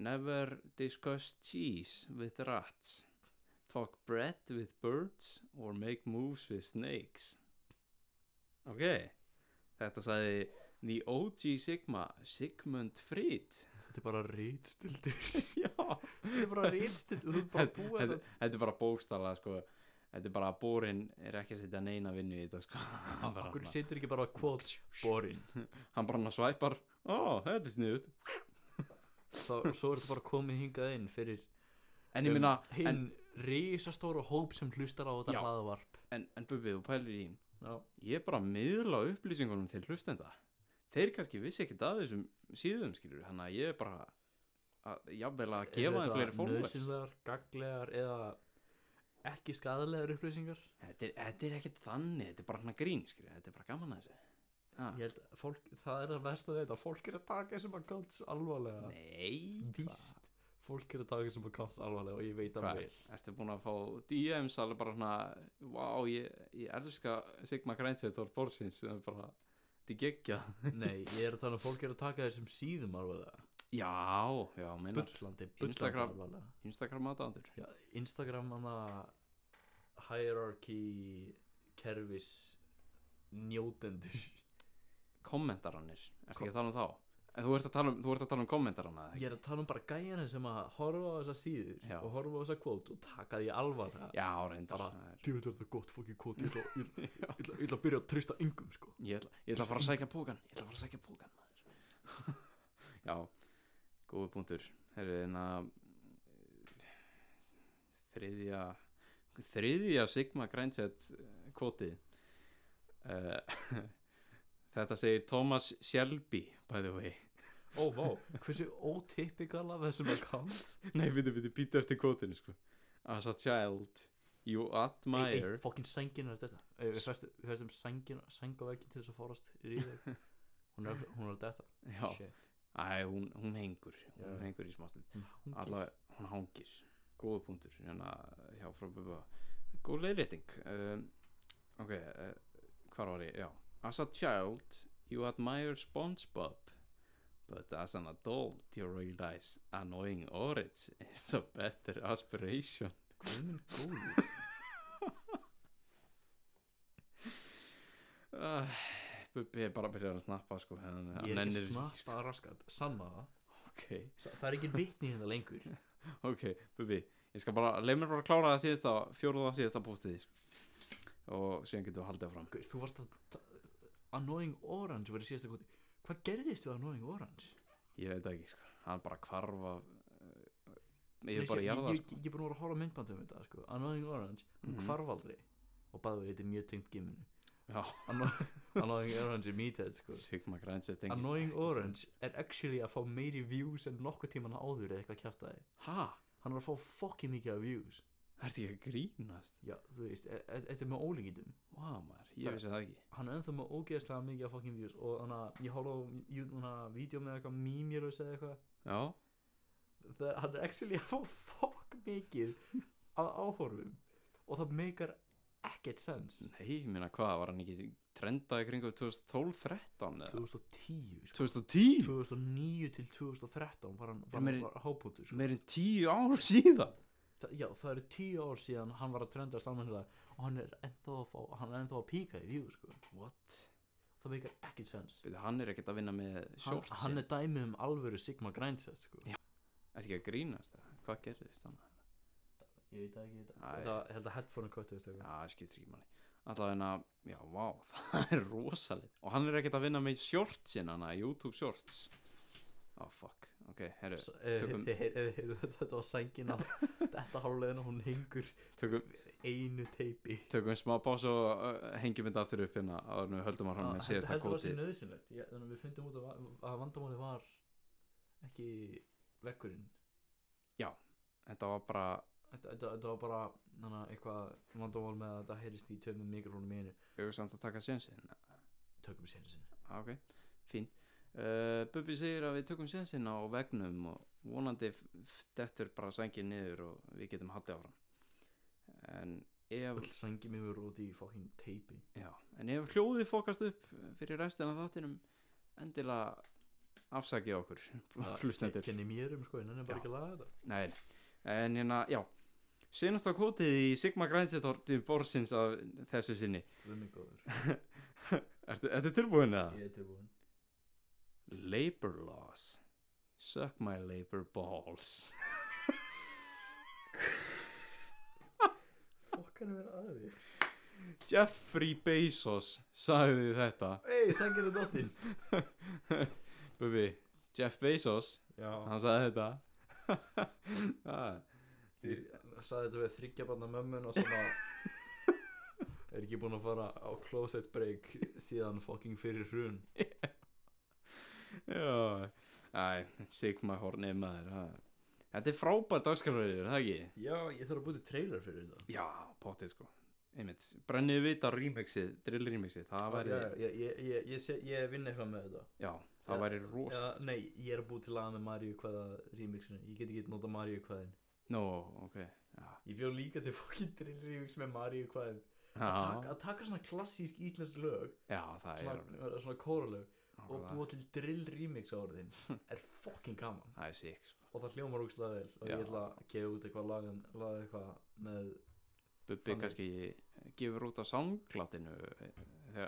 Speaker 1: Never discuss cheese with rats. Talk bread with birds or make moves with snakes. Ok, þetta sagði... The OG Sigma, Sigmund Frid
Speaker 2: Þetta er bara rýtstildur
Speaker 1: Já
Speaker 2: Þetta er bara rýtstildur Þú ert bara búið
Speaker 1: þetta, þetta er bara bókstala sko Þetta er bara að bórin er ekki að setja neina vinnu í þetta sko Hann bara,
Speaker 2: Akkur setur ekki bara quotes boring
Speaker 1: hann bara hann svæpar Ó, þetta er sniðut
Speaker 2: Þá, Svo er þetta bara komið hingað inn fyrir
Speaker 1: En ég minna,
Speaker 2: Um hinn
Speaker 1: en,
Speaker 2: risastóra hóp sem hlustar
Speaker 1: Já.
Speaker 2: á þetta hlaðvarp
Speaker 1: en, en Bubbi, þú pælir í
Speaker 2: Já.
Speaker 1: Ég er bara að miðla upplýsingunum til hlustenda Þeir kannski vissi ekkert af þessum síðum skilur Þannig að ég er bara að, jafnvel að gefa þeim fleiri fólks
Speaker 2: nöðsynlegar, gaglegar eða ekki skadalegar upplýsingar
Speaker 1: þetta, er- þetta er ekkert þannig, þetta er bara hann að grín skilur Þetta er bara gaman að þessu ha.
Speaker 2: ég held að fólk, það er það mest að þetta fólk er að taka þessum að kants alvarlega
Speaker 1: Nei
Speaker 2: víst, fólk er að taka þessum að kants alvarlega og ég veit að
Speaker 1: Hvað,
Speaker 2: vel
Speaker 1: ertu búin að fá DMs alveg bara hérna Vá, ég, ég elska Sigma Grænsetor Borsins sem er bara, þetta er geggja
Speaker 2: nei, ég er að tala um fólk er að taka þessum síðum alvarlega
Speaker 1: Já, já, meinar
Speaker 2: bullandi, bullandi
Speaker 1: Instagram.
Speaker 2: alvarlega
Speaker 1: Instagram aðdándur
Speaker 2: Já, Instagram hana hierarchy kerfis njótendur
Speaker 1: Kommentarannir, ertu ekki að tala um þá? En þú ert að tala um, þú ert að tala um kommentaranna
Speaker 2: Ég er að tala um bara gæjana sem að horfa á þessa síður
Speaker 1: Já.
Speaker 2: og horfa á þessa kvót og taka því alvar
Speaker 1: Já, reyndar
Speaker 2: Bara-
Speaker 1: það er-
Speaker 2: Djöfull er þetta gott fokkin kvót ég ætla- ég ætla- ég ætla ég ætla að byrja að treysta yngum sko
Speaker 1: Ég ætla, ég ætla að fara að sækja pókan Ég ætla að fara að sækja pókan maður. Já, góðu punktur Herru, hérna, en að þriðja þriðja Sigma eh, Grænset kvotið uh, Þetta segir Thomas Shelby by the way
Speaker 2: Ó, vá, hversu ótypikal af þessum account
Speaker 1: Nei, býttu, býttu, býttu eftir kvotinu sko As a child you admire
Speaker 2: fokkin sængin er þetta Ey, Við festum- við festum sængin, sængavegin til þess að forast ríður Hún er, hún er þetta
Speaker 1: Já,
Speaker 2: Shit.
Speaker 1: æ, hún, hún hengur
Speaker 2: Já.
Speaker 1: hún hengur í smástund
Speaker 2: Hún- hún-
Speaker 1: allavega, hún hangir góða punktur hérna hjá frá Bubba góð leiðrétting um, ok, uh, hvar var ég, já as a child you admire Spongebob but as an adult you realize annoying orange is a better aspiration uh, Bubbi er bara að byrja að snappa sko, hann, hann
Speaker 2: Ég er ekki
Speaker 1: nennir-
Speaker 2: snappa raskat Sanna það
Speaker 1: ok,
Speaker 2: Sa- Það er ekki vitni hérna lengur
Speaker 1: ok, Bubi ég skal bara, leið mér bara að klára það síðasta fjóruða síðasta postið sko. og síðan getum við haldið áfram
Speaker 2: Gaur, Þú varst að ta- Annoying Orange var í síðasta koti Hvað gerðist við Annoying Orange?
Speaker 1: ég veit það ekki, sko, hann bara kvarfa ég
Speaker 2: Nei,
Speaker 1: er bara
Speaker 2: sé-
Speaker 1: að jarða
Speaker 2: ég,
Speaker 1: sko.
Speaker 2: ég, ég er búin að vera að horfa á myndbandum um þetta sko. Annoying Orange, hann
Speaker 1: Mhm.
Speaker 2: hvarf aldrei Og bæði við, þetta er mjög tengt giminu
Speaker 1: já,
Speaker 2: Annoying Orange er meathead sko.
Speaker 1: Sigma Grænset tengist
Speaker 2: Annoying
Speaker 1: ekki.
Speaker 2: Orange er actually að fá meiri views en nokkuð tíman áður eða eitthvað kjæft að
Speaker 1: ha,
Speaker 2: Hann er að fá fucking mikið af views
Speaker 1: ertu ekki að grínast
Speaker 2: Já, þú veist, e- e- þetta er með ólíkindum
Speaker 1: vá maður, ég
Speaker 2: Það-
Speaker 1: vissi það ekki
Speaker 2: Hann er ennþá með ógeðslega mikið af fucking views Og hann að, ég hóla á jú- núna vídeo með eitthvað mýmjur og segja eitthvað
Speaker 1: já,
Speaker 2: Það hann er actually að fá fuck mikið af áhorfum Og það meikar ekkert sens
Speaker 1: nei, ég meina hvað var hann ekki trendaði kringu 2012-13 eða
Speaker 2: 2010 sko
Speaker 1: 2010,
Speaker 2: 2009 til 2013 var hann, var
Speaker 1: Er
Speaker 2: hann
Speaker 1: meiri-
Speaker 2: var hábútur sko.
Speaker 1: meirinn 10 ár síðan
Speaker 2: Þa, já, það eru tíu ár síðan hann var að trenda samanlega og hann er ennþá að, fá, hann er ennþá að píka í view sko.
Speaker 1: what,
Speaker 2: það meikar ekkert sens
Speaker 1: Bíddu, hann er ekkert að vinna með
Speaker 2: hann,
Speaker 1: shortsin
Speaker 2: hann er dæmi um alvöru Sigma Grindset sko.
Speaker 1: Já. Er ekki að grínast það? Hvað gerðist þannig?
Speaker 2: ég veit það ekki þetta
Speaker 1: Æ.
Speaker 2: Þetta- ég held að headphone köttu
Speaker 1: Já, það skiptir ekki manni Allavega, já, vá, það er rosalegt Og hann er ekkert að vinna með shortsin hana, YouTube shorts Ó, fuck, ok, herru
Speaker 2: eh,
Speaker 1: tökum-
Speaker 2: þetta var sængina þetta hálulegin hún hengur
Speaker 1: Tökum,
Speaker 2: einu teipi
Speaker 1: tökum smá pás og uh, hengjum þetta aftur upp hérna Þannig við höldum að hann með síðasta
Speaker 2: heldur var
Speaker 1: kóti
Speaker 2: sér nöðsynlegt Ég- þannig að við fundum út að, va- að vandamáli var ekki vekkurinn
Speaker 1: Þetta var bara,
Speaker 2: Þetta, þetta, þetta var bara hana, eitthvað vandamál með að þetta heyrist í tveimur mikrofónum í einu
Speaker 1: hefur samt að taka sénsinn
Speaker 2: tökum sér sinni
Speaker 1: Ah, ok, fín uh, Bubbi segir að við tökum sénsinn á vegnum og vonandi f- f- dettur bara sængin niður og við getum haldið áfram en ef
Speaker 2: öll sængi mig verið út í fokkin teipi
Speaker 1: Já, en ef hljóðið fókast upp fyrir restina af þáttinum endilega afsakið okkur hlustendur.
Speaker 2: kenni mér um sko en hann er bara
Speaker 1: Já.
Speaker 2: ekki að laga þetta
Speaker 1: Nei, en hérna, já senast á kótið í Sigma Grænsetorti borsins af þessu sinni
Speaker 2: við mig góður
Speaker 1: Ertu, ertu tilbúin eða?
Speaker 2: ég er tilbúin
Speaker 1: Labor laws Suck my labor balls
Speaker 2: fokkan er verið að því
Speaker 1: Jeffrey Bezos sagði þetta
Speaker 2: ei sængir er dottin
Speaker 1: Bubi, Jeff Bezos
Speaker 2: já
Speaker 1: hann sagði þetta Ah, Það
Speaker 2: ég sagði þetta við þryggja barna mömmun og svona er ekki búin að fara á closet break síðan fokking fyrir hrun
Speaker 1: Já, æ, Sigma hornið maður ha. Þetta er frábært dagskrafriður, það ekki?
Speaker 2: já ég þarf að búti trailer fyrir þetta
Speaker 1: Já, potið sko Einmitt, brennið vita remixið, drill remixið Það væri,
Speaker 2: já, já, ég, ég, ég, ég, ég vinn eitthvað með þetta
Speaker 1: já, það
Speaker 2: Já,
Speaker 1: væri rosa
Speaker 2: Já, nei, ég er að búið til laga með Maríu hvaða remixinu Ég get ekki nota Maríu hvaðin
Speaker 1: Nó, ok Já,
Speaker 2: Ég bjóð líka til fokkin drill remix með Maríu hvaðin að, taka,
Speaker 1: já,
Speaker 2: að taka svona klassísk íslensk lög
Speaker 1: já það er
Speaker 2: Svona, svona kóralög Og
Speaker 1: nákvæmlega. Hm.
Speaker 2: búa til drill remix á orðin Er fokkin gaman
Speaker 1: Það er sick sko.
Speaker 2: Og það hljómar úkslega vel Og
Speaker 1: Já.
Speaker 2: ég ætla að gefa út eitthvað laga, laga eitthvað með
Speaker 1: Bubbi
Speaker 2: Þannig.
Speaker 1: kannski gefur út á sánglátinu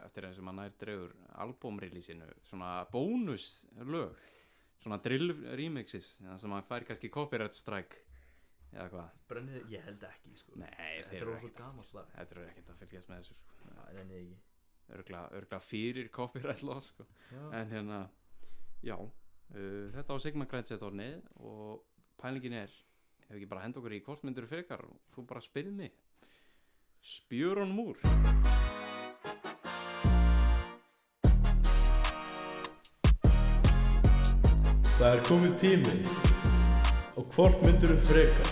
Speaker 1: eftir eins og maður nær drefur albumrelísinu, svona bónus lög, svona drill remixis, þannig að maður fær kannski copyright strike eða hvað
Speaker 2: brennið Ég held ekki, sko
Speaker 1: Nei, þeir
Speaker 2: Þetta
Speaker 1: eru
Speaker 2: er svo
Speaker 1: ekkert að-
Speaker 2: gaman slag
Speaker 1: Þetta eru ekkert að fylgjast með þessu sko.
Speaker 2: Það er ennig ekki
Speaker 1: örgla, örgla fyrir copyright law sko.
Speaker 2: Já.
Speaker 1: En hérna, já uh, Þetta á Sigma Grænsetorni og pælingin er hefur ekki bara henda okkur í kortmyndur fyrir ykkar og þú bara spyrð mig Spjör honum úr
Speaker 7: Það er komið tími og hvort myndur við freka?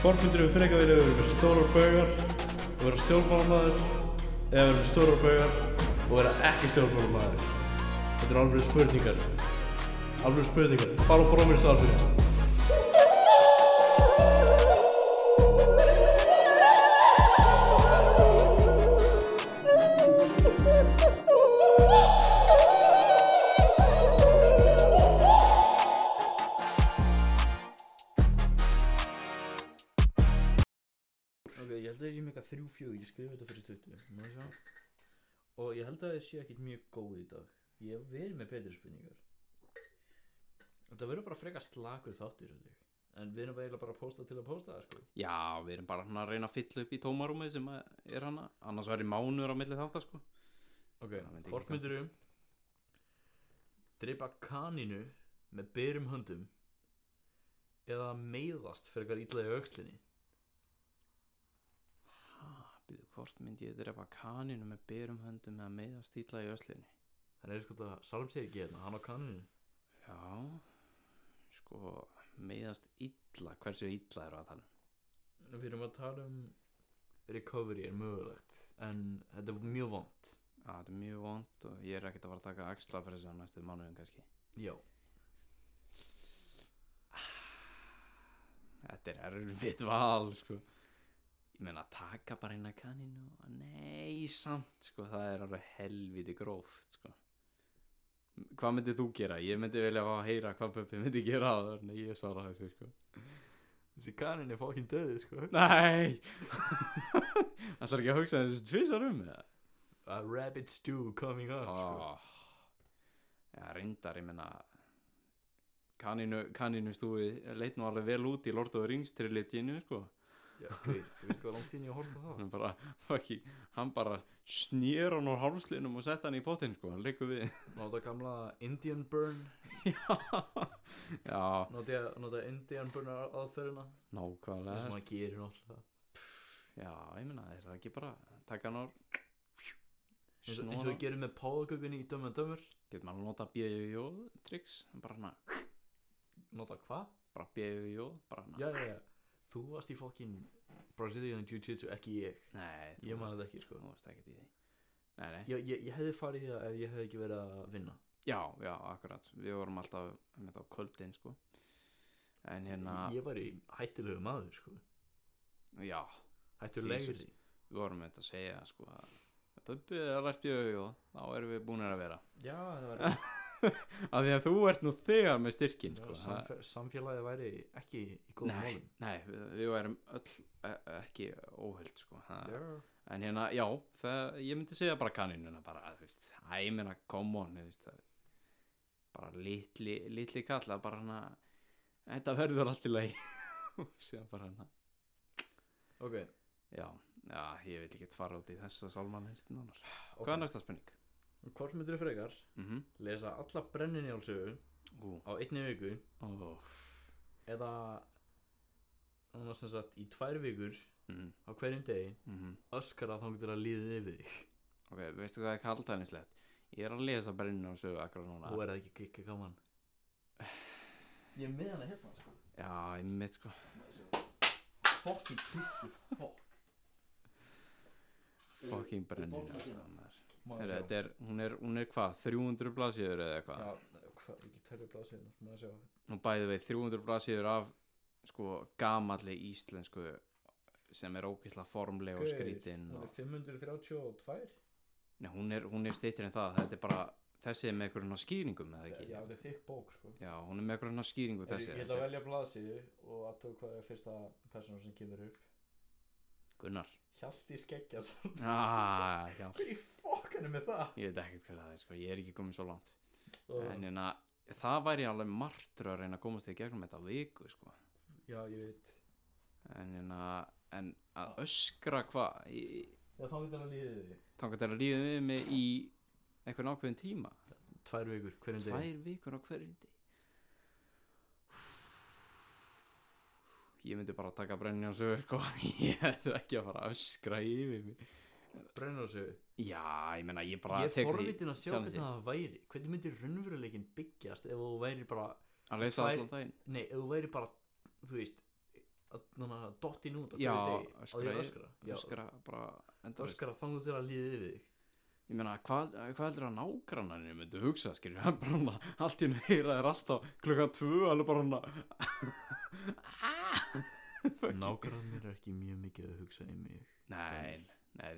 Speaker 7: Hvort myndur við freka vilja vera með stórar baugar og vera stjórnmálamaður eða vera með stórar baugar og vera ekki stjórnmálamaður? Þetta eru alveg spurningar. Alveg spurningar. Bara á brómiðstu alveg.
Speaker 2: þrjú fjögur, ég skrifa þetta fyrir stuttu Má ég sjá. og ég held að ég sé ekkit mjög góð í dag ég hef verið með betri spurningar þetta verður bara frekar slakur þáttur held ég. en við erum bara eiginlega bara að posta til að posta það sko.
Speaker 1: Já, við erum bara svona að reyna að fylla upp í tómarúmið sem að er hana annars væri mánur á milli þáttar sko
Speaker 2: ok,
Speaker 1: Það myndi ekki
Speaker 2: hvort
Speaker 1: ganga.
Speaker 2: myndir um dreipa kaninu með byrjum höndum eða meiðast frekar illa í aukslinni
Speaker 1: Býðu, hvort myndi ég drepa kaninu með berum höndum eða meða stíla í öslinni
Speaker 2: það er sko þetta, Salm segir ekki hérna, hann á kaninu
Speaker 1: Já, sko meðast illa, hversu illa eru að tala um?
Speaker 2: Við erum að tala um recovery er mögulegt en þetta er mjög vond
Speaker 1: Já, þetta er mjög vond og ég er ekkert að fara að taka axlapressu á næstu mánuðum kannski
Speaker 2: Já,
Speaker 1: Þetta er erfitt val, sko Ég meina að taka bara eina kaninu og nei, samt, sko það er alveg helviti gróft, sko Hvað myndið þú gera? Ég myndi vilja fá að heyra hvað Böbbi myndi gera á þarna ég svara þessu, sko
Speaker 8: Þessi kanin er fokkin döði sko
Speaker 1: Nei Það er ekki að hugsa þessu tvisar um eða?
Speaker 8: A rabbit stew coming up sko
Speaker 1: oh. Já, reyndar, ég menna kaninu, kaninu stúi leit nú alveg vel út í Lord of the Rings trilitinu, sko
Speaker 2: já, gauð, þú veist hvað langt síðan ég horfði á það
Speaker 1: hann bara, fucking, hann bara snýr hann úr hálslinum og sett hann í potinn, sko, hann liggur við
Speaker 2: Nóta gamla Indian burn
Speaker 1: Já,
Speaker 2: Nóta, nóta Indian burn aðferðina Það sem
Speaker 1: nákvæmlega
Speaker 2: maður gerir náttúrulega
Speaker 1: Já, ég menna, er það ekki bara taka hann úr
Speaker 2: eins og, eins og
Speaker 1: snóra,
Speaker 2: þú gerir með páðakökunni í Dömmen Dömmur
Speaker 1: getur maður að nota bjöjujó triks, bara hana
Speaker 2: Nóta hvað?
Speaker 1: bara bjöjujó, bara hana
Speaker 2: Já, já, já Þú varst í fokkin Brazilian Jiu-Jitsu, ekki ég
Speaker 1: Nei,
Speaker 2: Ég man þetta ekki, sko.
Speaker 1: Þú varst ekkert í því Nei, nei
Speaker 2: Já, ég, ég hefði farið í það ef ég hefði ekki verið að vinna
Speaker 1: Já, já, akkurat, við vorum alltaf með þetta á kvöldin, sko En hérna,
Speaker 2: Ég var í hættulegu maður, sko
Speaker 1: já,
Speaker 2: Hættulegri
Speaker 1: Jesus. við vorum með þetta að segja, sko að Bubbi er lært bjöðu, jú, þá erum við búinir að vera
Speaker 2: Já, það var
Speaker 1: Af því að þú ert nú þegar með styrkin,
Speaker 2: Já,
Speaker 1: sko það-
Speaker 2: samfé- samfélagið væri ekki í góðum
Speaker 1: Nei,
Speaker 2: málum
Speaker 1: nei, við, við værum öll e, ekki óhöld, sko það,
Speaker 2: Já.
Speaker 1: En hérna, já, það, ég myndi segja bara kanínuna bara, þú veist, æ, ég meina, come on, þú veist, það, bara litli, litli kalla, bara hana, þetta verður allt í lagi, og síðan bara hana,
Speaker 2: Ok,
Speaker 1: já, já, ég vil ekki fara út í þessa sálmann hérna nánar.
Speaker 2: Ok.
Speaker 1: Hvað er næsta spurning?
Speaker 2: hvort myndir þú frekar
Speaker 1: Mhm,
Speaker 2: lesa alla brenninjálsögu
Speaker 1: ú,
Speaker 2: á einni viku
Speaker 1: ó,
Speaker 2: eða þannig sem sagt í tvær vikur
Speaker 1: mhm,
Speaker 2: á hverjum degi
Speaker 1: mhm,
Speaker 2: öskara þangur til að líðið yfir þig
Speaker 1: ok, veistu hvað er kaldænislegt? Ég er að lesa brenninu og sögu akkur núna.
Speaker 2: og er það ekki kikka gaman Ég er með hana hérna sko
Speaker 1: Já, ég mitt, sko,
Speaker 2: Fokki tussu, fokk
Speaker 1: fucking brenninu.
Speaker 2: Maður
Speaker 1: Þetta er, hún er, hún er hvað, 300 blaðsjöður eða eitthvað?
Speaker 2: Já, hvað, ekki tælu blaðsveinar, maður hérna, sjá
Speaker 1: nú bæði við 300 blaðsíður af sko gamalli íslensku sem er ókisla formleg og
Speaker 2: Gaur,
Speaker 1: skrítin
Speaker 2: Hún
Speaker 1: og,
Speaker 2: er 532
Speaker 1: nei, hún er, hún er styttir en það þetta er bara, þessi er með eitthvað svona skýringum eða ekki,
Speaker 2: Já, þetta er þykk bók sko
Speaker 1: já, hún er með eitthvað svona skýringu þessi,
Speaker 2: Þessi, ég ætla
Speaker 1: þetta
Speaker 2: að
Speaker 1: er
Speaker 2: velja blaðsíðu og aðtöku hvað er fyrsta persónu sem kemur upp
Speaker 1: Gunnar
Speaker 2: Hjalti Skeggjason
Speaker 1: ah, já,
Speaker 2: Hver í fokkan er með það?
Speaker 1: ég veit ekkert hvað það er sko, ég er ekki komið svo langt en
Speaker 2: Og,
Speaker 1: hérna, það væri alveg martur að reyna að komast í gegnum þetta á viku sko,
Speaker 2: já, ég veit
Speaker 1: en hérna en að öskra hvað í-
Speaker 2: Já, þá getur hann líðið þig
Speaker 1: þangað til að líða við mig í einhvern ákveðin tíma
Speaker 2: Tvær vikur, hverjum degi
Speaker 1: Tvær vikur á hverjum deg Ég myndi bara taka brennjan sögur sko Ég hefði ekki að fara að öskra yfir mig
Speaker 2: Brennur þessu
Speaker 1: Já, ég meina ég bara
Speaker 2: Ég er
Speaker 1: tek því-
Speaker 2: forvitin að sjá
Speaker 1: sjálfan
Speaker 2: hvernig
Speaker 1: sig.
Speaker 2: það væri Hvernig myndir raunveruleikin byggjast ef þú væri bara
Speaker 1: Að leysa
Speaker 2: tvær-
Speaker 1: allan daginn
Speaker 2: Nei, ef þú væri bara, þú veist að- Þannig að dotti nút á
Speaker 1: Já,
Speaker 2: hverju
Speaker 1: öskra í-
Speaker 2: degi á því að öskra Já,
Speaker 1: Öskra bara endalaust.
Speaker 2: Öskra þangur þegar að líðið yfir þig
Speaker 1: Ég meina, hvað hva heldur að nágrannarnir myndu hugsa, skilur Hann bara hana, allt í einu heyra þér alltaf klukkan tvö Alveg bara "Ah!" hana
Speaker 2: Nágrannir er ekki mjög mikið að hugsa í mig
Speaker 1: Nei, nei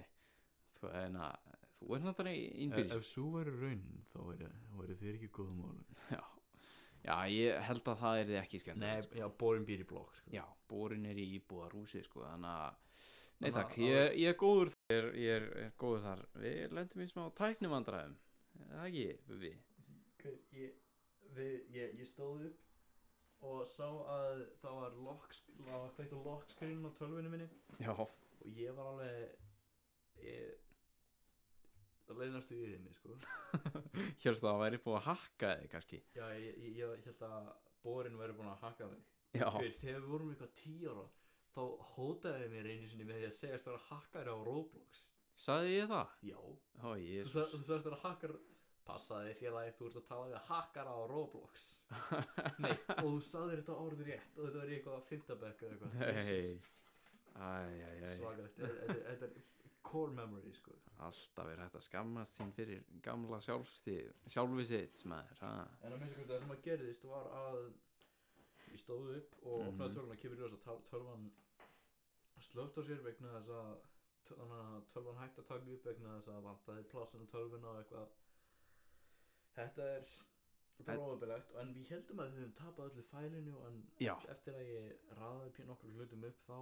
Speaker 1: Þú er hérna Þú er hérna náttúrulega
Speaker 2: Ef,
Speaker 1: innbyrðis
Speaker 2: ef svo væri raunin þá væri, þá væri þér ekki góðum málum
Speaker 1: Já, já ég held að það er þið ekki sko. skemmt
Speaker 2: Nei, já, borin býr í blokk sko.
Speaker 1: Já, borin er í íbúðarhúsi sko, þannig að Nei takk, ég, ég er góður þar ég, er, ég er góður þar Við lendum í smá tæknivandræðum Er Það ekki, Bubi
Speaker 2: Hver, ég, við, ég, ég stóð upp og sá að það var lock, það var kveikt á lockskriðin á tölvunni minni
Speaker 1: Já,
Speaker 2: og ég var alveg ég, það leiðnastu í þeim sko.
Speaker 1: hérstu að það væri búið að hakka þig kannski
Speaker 2: já, ég, ég, ég held að borin væri búin að hakka mig
Speaker 1: Já,
Speaker 2: Gauð, þegar við vorum eitthvað 10 ára þá hótaði þið mér einu sinni með því að segja að það var hakkari á Roblox
Speaker 1: sagði ég það?
Speaker 2: já,
Speaker 1: Ó,
Speaker 2: þú
Speaker 1: ég
Speaker 2: sa- þú sagðist það var hakkar passaði félagi, þú ert að tala við hakkara á Roblox nei, og þú sagðir þetta orður rétt og þetta var í eitthvað fintabekk eða eitthvað
Speaker 1: Nei Æ, æ, æ,
Speaker 2: svakalegt, Þetta- þetta þetta er core memory sko
Speaker 1: alltaf er hægt að skammast sín fyrir gamla sjálfsti, sjálfi sitt maður, ha?
Speaker 2: en að minnst ekki það sem að gerðist var að ég stóð upp og
Speaker 1: Mhm.
Speaker 2: opnaði tölvan að kemur í þess að tölvan slögt á sér vegna þess að töl- þannig að tölvan hægt að taka upp vegna þess að vantaði plássinu tölvuna og eitthvað þetta er þetta er óöfilegt en við heldum að við höfum tapað öllu fælinu en
Speaker 1: Já.
Speaker 2: eftir að ég raðaði pín okkur hlutum upp þá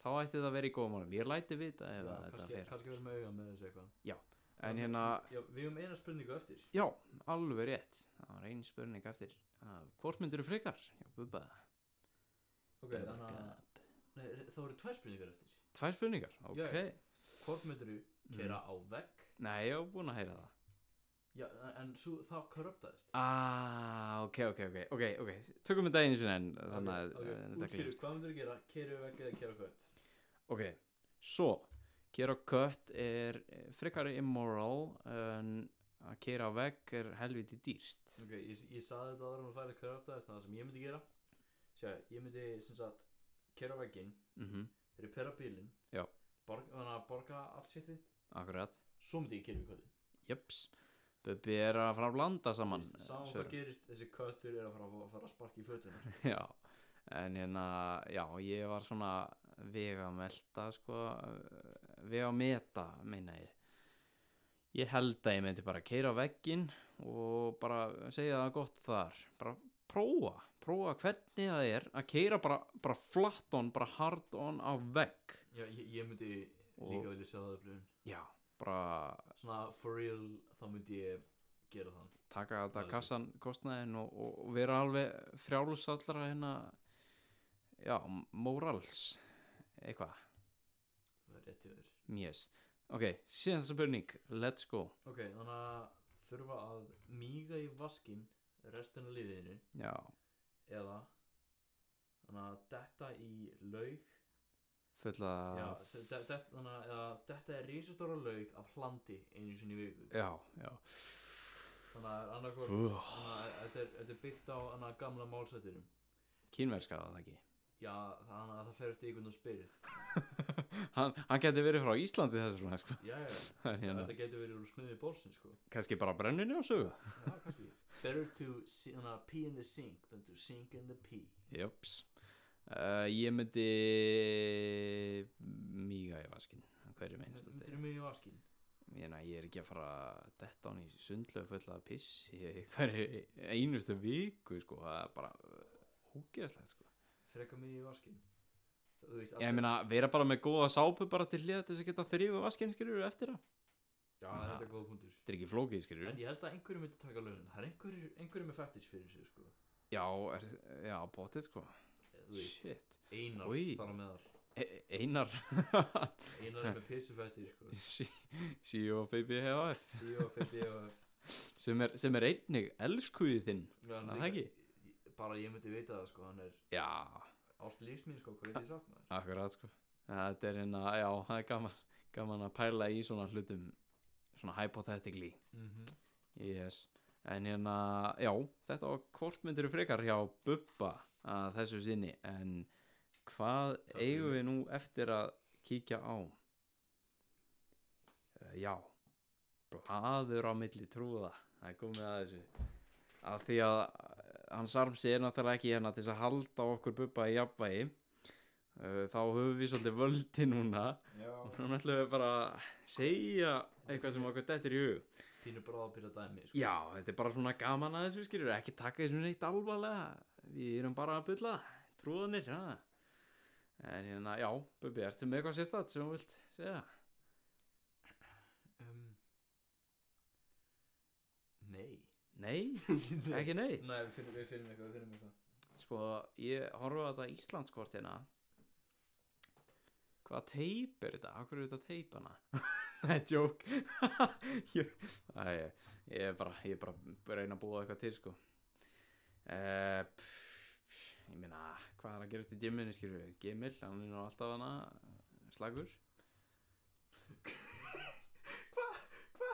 Speaker 1: Þá ætti það að vera í góðum málum Ég læti vita ef að þetta
Speaker 2: kannski,
Speaker 1: fer
Speaker 2: kannski verðum með auga með þessu eitthvað
Speaker 1: En hérna,
Speaker 2: já, við höfum eina spurningu eftir
Speaker 1: já, alveg rétt Það var einn spurning eftir Af Hvort myndir þú frekar? Já, bubba
Speaker 2: ok, þannig
Speaker 1: Bubblegum.
Speaker 2: að nei, það voru tvær spurningar eftir
Speaker 1: Tvær spurningar, ok Mm.
Speaker 2: Já, já. hvort myndir þú
Speaker 1: Mhm.
Speaker 2: kera á vegg
Speaker 1: Nei, ég var búin að heyra það
Speaker 2: Já, en- en svo það korruptaðist
Speaker 1: Ah, ok, ok, ok, ok, ok Tökum við daginn sinni en þannig að
Speaker 2: okay,
Speaker 1: eh,
Speaker 2: okay.
Speaker 1: þetta
Speaker 2: Útkýru,
Speaker 1: glemst.
Speaker 2: hvað myndir þú gera? Keru vegg eða keru kött?
Speaker 1: Ok, svo Kera á kött er eh, frekar immoral en að kera á vegg er helviti dýrt
Speaker 2: Ok, ég, ég saði þetta aðra um að færa korruptaðist en það sem ég myndi gera Sjá, ég myndi sem sagt keru vegginn,
Speaker 1: Mhm,
Speaker 2: repera bílinn
Speaker 1: Já.
Speaker 2: borg, Þannig að borga allt sétti
Speaker 1: akkurat
Speaker 2: Svo myndi ég keru köttin
Speaker 1: Jöps Bubbi er að fara að blanda saman eh,
Speaker 2: Saman
Speaker 1: svörum.
Speaker 2: hvað gerist, þessi köttur er að fara, að fara að sparka í fötuna sko.
Speaker 1: Já En hérna, já, ég var svona vega að melta, sko eh, vega að meta, meina ég Ég held að ég myndi bara keira vegginn og bara segja það gott þar bara prófa, prófa hvernig það er að keira bara, bara flat on bara hard on á vegg
Speaker 2: Já, ég, ég myndi
Speaker 1: Og-
Speaker 2: líka vilja sjá það upplifun
Speaker 1: Já, bara
Speaker 2: Svona for real, þá myndi ég gera það
Speaker 1: taka þetta
Speaker 2: Alveg.
Speaker 1: kassan kostnaðin og, og vera alveg frjálsallra hérna já, morals eitthvað,
Speaker 2: Það er rétt í þér
Speaker 1: mjög ok, síðan spurning, let's go
Speaker 2: Ok, þannig að þurfa að míga í vaskinn restin af liðinu
Speaker 1: já,
Speaker 2: eða þannig að detta í laug
Speaker 1: fulla
Speaker 2: já, de, de, de, þannig að eða detta er risastóra laug af hlandi einu sinni í viku
Speaker 1: já, já,
Speaker 2: þannig að annarkvort
Speaker 1: Úff.
Speaker 2: þannig að e- þetta er, þetta er byggt á þannig að gamla málsættinum
Speaker 1: kínverska var það ekki
Speaker 2: já, þannig að það fer eftir einhvern og spyrð
Speaker 1: hann, hann geti verið frá Íslandi þessu svona sko.
Speaker 2: já, já,
Speaker 1: En hérna,
Speaker 2: þetta getur verið úr snuði bólsinn sko
Speaker 1: kannski bara brenninu á sögu
Speaker 2: já, kannski better to si- þannig að pee in the sink than to sink in the pee
Speaker 1: jöps uh, ég myndi míga í vaskin hverju meinst þetta
Speaker 2: myndir mig í vaskinn
Speaker 1: ég, na, ég er ekki að fara að detta hann í sundlega fulla af piss í hverju einustu viku sko, það er bara hókiðaslegt sko.
Speaker 2: freka mig í vaskinn þú veist,
Speaker 1: ég meina, vera bara með góða sápu bara til hliða til þess að geta þrýfa vaskinn skilur eftir það,
Speaker 2: já,
Speaker 1: Ja.
Speaker 2: þetta er góða punktur
Speaker 1: þetta er ekki flókið skilur
Speaker 2: en ég held að einhverju myndi taka lögin það er einhverju, einhverju með fetish fyrir sig sko.
Speaker 1: já, er, já, bótið sko
Speaker 2: Eða, þú veist,
Speaker 1: shit,
Speaker 2: einar
Speaker 1: Oj.
Speaker 2: þar á meðal
Speaker 1: e Einar
Speaker 2: einar er með pissu fetish sko.
Speaker 1: CEO of BBHF
Speaker 2: CEO of BBF
Speaker 1: sem er, sem er einnig elskuðið þinn
Speaker 2: Já, en
Speaker 1: Það
Speaker 2: líka-
Speaker 1: ekki?
Speaker 2: bara ég myndi vita það sko. hann er
Speaker 1: já,
Speaker 2: ást lífsmín sko. hvað veit ég sagt maður
Speaker 1: akkurat sko þetta er hérna, já, það er gaman gaman að pæla í svona hlutum svona hypothetically Yes, en hérna, já, þetta var kortmyndir frekar hjá Bubba að þessu sinni, en hvað eigum við nú eftir að kíkja á? Uh, já, blaður á milli trúða, það er komið að þessu. Af því að eh, hans armsi er náttúrulega ekki hérna til þess að halda okkur Bubba í jafnvægi, uh, þá höfum við svolítið völdi núna og núna ætlum við bara að segja eitthvað sem okkur dettir í hug.
Speaker 2: pínu bráða pínu dæmi sko.
Speaker 1: Já, þetta er bara svona gaman að þessu skilur ekki taka þessu neitt alvarlega við erum bara að bylla trúðanir, ha En hérna, já, Bubi, ertu með eitthvað sérstætt sem þú vilt segja?
Speaker 3: um, Nei
Speaker 1: Nei, ekki neitt
Speaker 2: Nei, við finnum, við finnum eitthvað, við finnum eitthvað
Speaker 1: Sko, ég horfa á þetta Íslandskort hérna Hvað teip er þetta? Akkur er þetta teip hana? Nei, djók ég, Æ, ég, ég er bara, ég er bara að reyna að búa eitthvað til, sko uh, pff, Ég meina, hvað er að gerast í gyminu, skilur við? Gymil, hann er nú alltaf hana slagur Hva?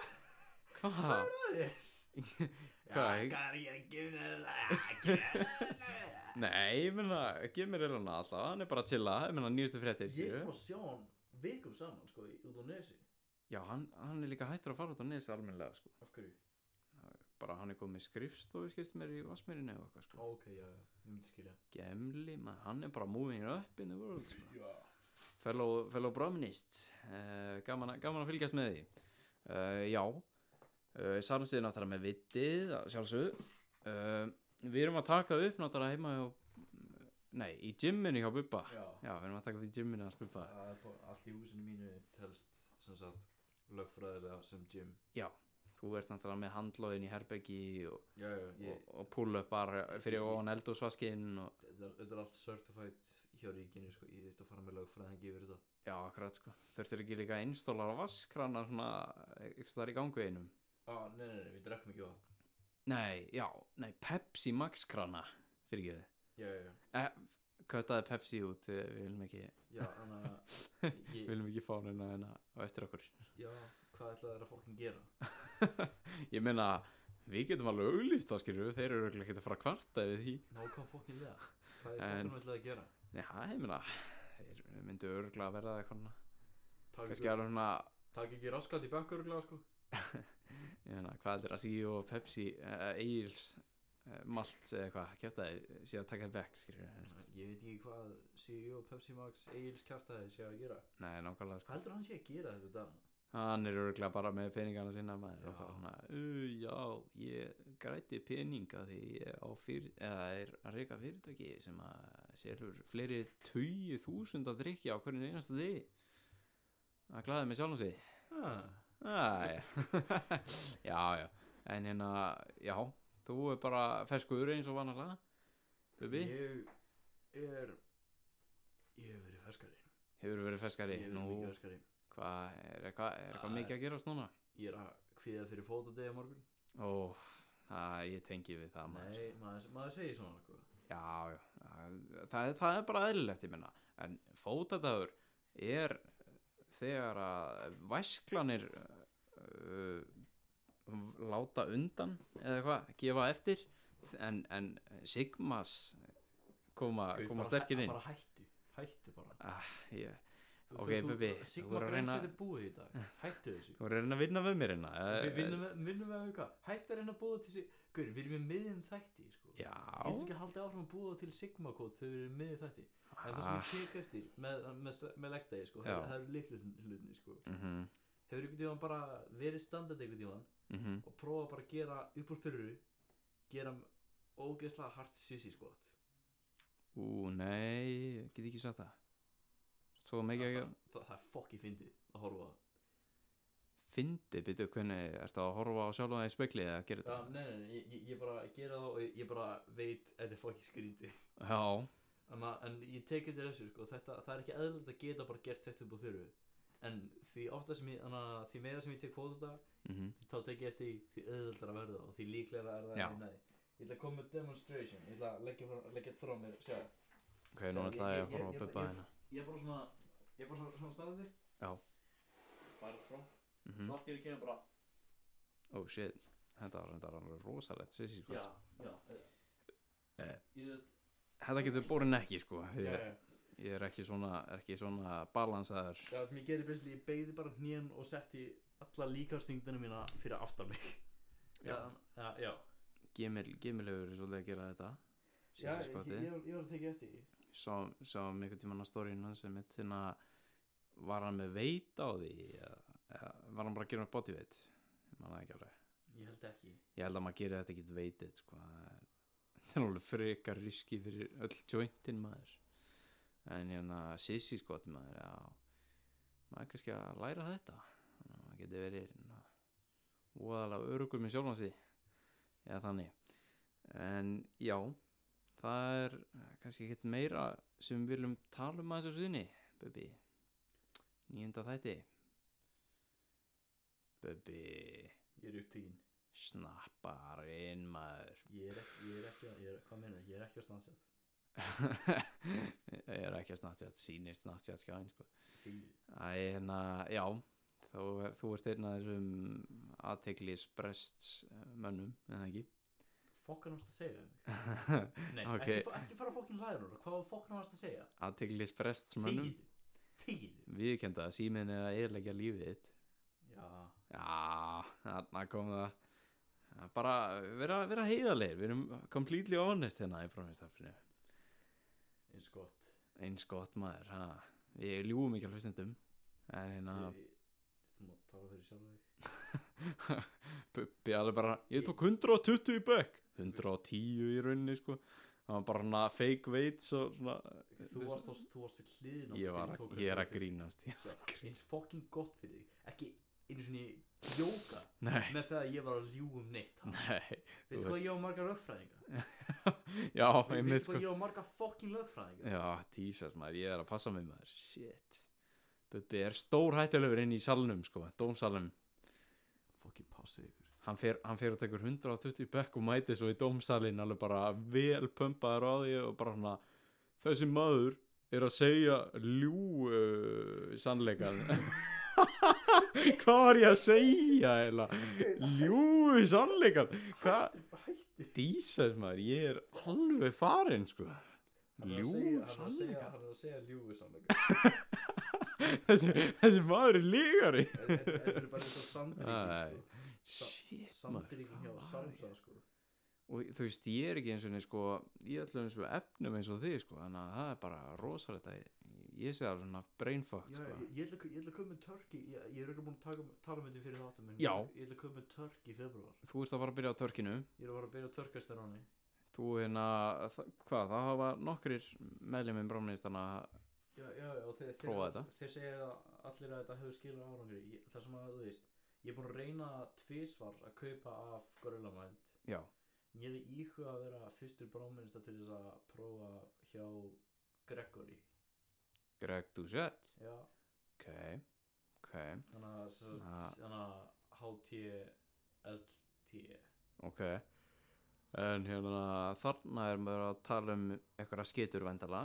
Speaker 1: Hva? Hvað er það
Speaker 2: þér?
Speaker 1: Hvað?
Speaker 2: Já, Hvað er ég að gefa það?
Speaker 1: Nei, ég meina, Gimir er hann alltaf, hann er bara að chilla, ég meina nýjustu fréttir,
Speaker 2: Ég
Speaker 1: skilju.
Speaker 2: kom að sjá hann vikum saman, sko, í- út á nesi
Speaker 1: Já, hann, hann er líka hættur að fara út á nes almennilega, sko.
Speaker 2: Af hverju?
Speaker 1: Bara hann er komið skrifstofu, skilt mér í Vassmýrinni eða eitthvað, sko.
Speaker 2: Ok, já, já, ég myndi skilja
Speaker 1: Gemli, maður, hann er bara moving up in the world, sko.
Speaker 2: Já
Speaker 1: Fellow, fellow Bromnist, uh, gaman, að- gaman að fylgjast með því. Uh, já, uh, Sarnsið er náttúrulega með vitið, að sjálfsögðu. Uh, við erum að taka upp náttúrulega heima hjá, nei, í gymminu hjá Bubba.
Speaker 2: Já,
Speaker 1: Já, við erum að taka upp í gymminu hans Bubba.
Speaker 2: það er bara- allt í húsinu mínu telst, sem sagt lögfræðilega sem gym
Speaker 1: Þú ert náttúrulega með handlóðin í herbergi og,
Speaker 2: Já, já, ég,
Speaker 1: og, og pull-up bara fyrir ofan eldúsvaskinn og
Speaker 2: þetta, er- þetta er allt certified hjá ríkinu, sko Ég þurfti að fara með lögfræðingi yfir þetta
Speaker 1: já, akkurat sko. Þurftur ekki líka að installar á vaskrana svona ykkur staðar í gangu einum.
Speaker 2: ah, nei, nei, nei, við drekkum ekki vatn
Speaker 1: Nei, já, nei, Pepsi Max krana, fyrir ekki þið.
Speaker 2: Já, já, já
Speaker 1: Köttaði Pepsi út, eh, við viljum ekki,
Speaker 2: Já, þannig að
Speaker 1: við
Speaker 2: ég,
Speaker 1: viljum ekki fá hérna hérna á eftir okkur.
Speaker 2: Já, hvað ætla þeir að fólkin gera?
Speaker 1: Ég meina, við getum alveg auglýst þá skilur við, þeir eru örugglega ekki að fara að kvarta við því.
Speaker 2: Ná, hvað fólkin lega? Hvað er
Speaker 1: En-
Speaker 2: fólkin ætla að gera?
Speaker 1: Já, ég meina, þeir myndu örglega að verða eitthvað, svona-
Speaker 2: Takk
Speaker 1: kannski alveg svona
Speaker 2: Takk ekki raskat í bekkuruglega sko
Speaker 1: ég meina, hvað heldur að CEO og Pepsi uh, Eils uh, Malt eða eitthvað, kæfta þið sé að taka þið back skilur
Speaker 2: Ég veit ekki hvað CEO Pepsi Max Egil's kæftæði sé að gera
Speaker 1: nei, nákvæmlega sko
Speaker 2: Hvað heldur hann sé að gera þetta dag?
Speaker 1: hann er örgulega bara með peningana sína maður
Speaker 2: Já.
Speaker 1: er bara svona, "Ú, já, ég græti peninga því ég á fyrir, eða er að reyka fyrirtæki sem að selur fleiri 20.000 að drikja á hvernig einasta því að glæði mig sjálfum sig
Speaker 2: Ah.
Speaker 1: Ah, já. já, já En hérna, já Þú er bara ferskuður eins og vanalega Bubi,
Speaker 2: Ég er Ég hef verið ferskari
Speaker 1: hefur verið ferskari
Speaker 2: Ég hef verið
Speaker 1: Nú,
Speaker 2: mikið ferskari
Speaker 1: hvað er eitthvað er eitthvað
Speaker 2: Ah.
Speaker 1: mikið að gerast núna?
Speaker 2: Ég er að kviða fyrir fótadegi á morgun
Speaker 1: Ó, það, ég tengi við það maður
Speaker 2: Nei, maður, maður segir svona sko.
Speaker 1: Já, já, það- það, er- það er bara eðlilegt, ég menna En fótadagur er þegar að væsklanir uh, láta undan eða hvað, gefa eftir en, en Sigmas koma,
Speaker 2: Gau,
Speaker 1: koma
Speaker 2: bara
Speaker 1: sterkir
Speaker 2: hæ-
Speaker 1: inn
Speaker 2: Bara hættu, hættu bara
Speaker 1: ah, ég,
Speaker 2: Þú-
Speaker 1: Ok,
Speaker 2: þú- þú-
Speaker 1: Bubbi, þú
Speaker 2: Sigma
Speaker 1: voru að reyna-
Speaker 2: grænsið er búið í dag Hættu þessu
Speaker 1: Þú reynir að vinna við mér hérna eh,
Speaker 2: Við vinnum með, vinnum með eitthvað Hættu að reyna að búa til sig Guður, við erum í miðjum þætti sko.
Speaker 1: eh, Já
Speaker 2: Við getum ekki haldið áfram að búa til Sigma kód þegar við erum miðjum þætti En það sem
Speaker 1: ah,
Speaker 2: ég tek eftir með, með, með legdegi sko,
Speaker 1: Já.
Speaker 2: það það eru litlu hlutinni sko.
Speaker 1: mhm,
Speaker 2: Hefur einhvern tímann bara verið standard einhvern tímann
Speaker 1: mhm.
Speaker 2: og prófa bara að gera upp úr þurru gera ógeðslega sko. hart sissi skot
Speaker 1: Ú, nei, ég get ekki sagt það Svo mikið
Speaker 2: það,
Speaker 1: ekki
Speaker 2: það, það er fokki fyndið að horfa á það
Speaker 1: Fyndi, byrju, hvernig, ertu að horfa á sjálf það í spekli eða að gera
Speaker 2: Já,
Speaker 1: þetta?
Speaker 2: nei, nei, nei, ég- ég, ég bara gera það og ég, ég bara veit þetta er fokki skrítið
Speaker 1: Já,
Speaker 2: en, en ég tek eftir þessu sko, þetta, það er ekki eðlilegt að geta bara gert þetta upp úr þurru en því ofta sem ég, þannig að því meira sem ég tek fóta þetta
Speaker 1: mhm
Speaker 2: þá tek ég eftir því, því auðvöldar að verða og því líklega er það
Speaker 1: Já.
Speaker 2: að vinna því ég ætla að koma með demonstration ég ætla að leggja, frá- leggja frá mér sjá.
Speaker 1: Ok, nú
Speaker 2: Svo
Speaker 1: ætla
Speaker 2: ég-
Speaker 1: ég að
Speaker 2: ég-
Speaker 1: horfa á
Speaker 2: ég-
Speaker 1: Bubba
Speaker 2: ég-
Speaker 1: hérna.
Speaker 2: ég er bara svona ég er bara svona, svona staðandi
Speaker 1: Já.
Speaker 2: farið frá mm.
Speaker 1: Mhm.
Speaker 2: allt í einu kemur bara
Speaker 1: Ó, shit. Þetta var þetta var alveg rosalegt, svissi sko.
Speaker 2: já, já
Speaker 1: Eh.
Speaker 2: ég sett
Speaker 1: Þetta getur borin ekki sko.
Speaker 2: já,
Speaker 1: Ég,
Speaker 2: já
Speaker 1: ég er ekki svona, er ekki svona balansaður.
Speaker 2: já, það sem ég gerði beinsli ég beigði bara hnén og setti alla líkastingdina mína fyrir aftan mig já, já, já
Speaker 1: Gimil, Gimil hefur verið svolítið að gera þetta.
Speaker 2: Já, ég, ég,
Speaker 1: Svissi
Speaker 2: ég, var- ég var að tekja eftir því
Speaker 1: Sá, sá mikið tíman á stóriðinu hans sem mitt hérna, var hann með veit á því? Eða, eða, var hann bara að gera með body veit? Ég man það ekki alveg.
Speaker 2: ég held ekki
Speaker 1: Ég held að maður gerir þetta ekkit veitið sko. Það er- Þetta er alveg frekar riski fyrir öll jointin maður. en hérna sissi skot maður já, maður er kannski að læra þetta Þannig að maður geti verið hérna, voðalega örugur með sjálfan sig eða þannig en já það er eh, kannski ekkert meira sem við viljum tala um að þessu sinni Bubbi nýjunda þætti Bubbi
Speaker 2: Ég er upptíkin
Speaker 1: snappar inn maður
Speaker 2: Ég er ekki, ég er ekki, að- ég er, hvað meina, ég er ekki að stansa
Speaker 1: ég er ekki að snartjátt sýnir snartjátt skjáin sko. Æ, hérna, já þú, þú ert einn af þessum aðteglis mönnum en ekki
Speaker 2: Fokkan varst að segja um mig Nei,
Speaker 1: Ok.
Speaker 2: ekki, fa- ekki fara að fokkin læra núna Hvað var fokkan varst að segja?
Speaker 1: aðteglis mönnum
Speaker 2: Þýðu Þýðu
Speaker 1: viðkenda að síminn er að eðleggja lífið þitt
Speaker 2: Já
Speaker 1: Já, þarna kom það Það er Bara vera, vera heiðarleir Við erum completely honest hérna í framhengstaflinu
Speaker 2: Eins gott
Speaker 1: Eins gott maður ha. Við ljúum ekki að hlustendum En hérna
Speaker 2: Ég- ég- Þú má tala fyrir sjálf þig
Speaker 1: Bubbi alveg bara Ég tók 120 í bekk 110 í rauninni sko Það var bara hana fake weights og svona
Speaker 2: Þú varst, á, þú varst við hliðin á
Speaker 1: Ég,
Speaker 2: mér
Speaker 1: var,
Speaker 2: þegar tók
Speaker 1: ég er að
Speaker 2: 120.
Speaker 1: grínast ég-
Speaker 2: Eins fokkin gott fyrir þig Ekki einu sinni jóka
Speaker 1: Nei,
Speaker 2: Með það að ég var að ljúga um neitt ha.
Speaker 1: nei
Speaker 2: Veistu
Speaker 1: þú
Speaker 2: hvað ég á marga lögfræðinga?
Speaker 1: Já, einmitt
Speaker 2: Veistu
Speaker 1: sko
Speaker 2: hvað ég á marga fokkin lögfræðinga?
Speaker 1: Já, tísas maður, ég er að passa mig maður Shit Bubbi er stór hættulegur inn í salnum sko, dómsalnum
Speaker 2: Fokkin passi ykkur
Speaker 1: Hann fer, hann fer og tekur 120 bekk og mæti svo í dómsalinn alveg bara vel pumpaður á því og bara svona Þessi maður er að segja ljú uh, sannleikan Hvað var ég að segja eða? Ljú sannleikan Hvað? Dísas maður, ég er alveg farinn sko Ljú sannleikan
Speaker 2: Hann er að segja ljúgu sannleika
Speaker 1: þessi, þessi maður er lígari
Speaker 2: Þetta þetta er bara eins og
Speaker 1: Æ,
Speaker 2: samdrykking sko.
Speaker 1: shit maður
Speaker 2: Samdrykking hjá
Speaker 1: hvað var ég?
Speaker 2: samsa sko
Speaker 1: og þú veist ég er ekki eins og niður sko ég ætlum eins og efnum eins og þið sko þannig að það er bara rosalegt að ég- ég sé það svona brainfucked
Speaker 2: Já,
Speaker 1: sko
Speaker 2: ég- ég ætla að- ég ætla að koma með törki Ég ég er auðvitað búin að taka- tala um þetta fyrir þáttum en
Speaker 1: Já.
Speaker 2: Ég ætla að koma með törki í februar
Speaker 1: þú veist að fara að byrja á törkinu
Speaker 2: Ég er að fara að byrja að törkast þér áni
Speaker 1: þú hérna þa- hvað það hafa nokkrir meðlumum brámnistana
Speaker 2: Já, já, já, og þeir, þeir,
Speaker 1: Prófa þetta.
Speaker 2: þeir segja að allir að þetta hefur skilur árangri Ég- Það sem að, þú veist, ég er búin að reyna tvísvar að kaupa af Gorilla Mind
Speaker 1: já
Speaker 2: Ég er íhuga að vera fyrstur bráminnsta til þess að prófa hjá Gregory
Speaker 1: Greg Doucette
Speaker 2: Já,
Speaker 1: ok ok
Speaker 2: þannig að, sem sagt,
Speaker 1: Ah.
Speaker 2: þannig að HT, LT
Speaker 1: ok en hérna þarna er maður að tala um einhverja skitur vendala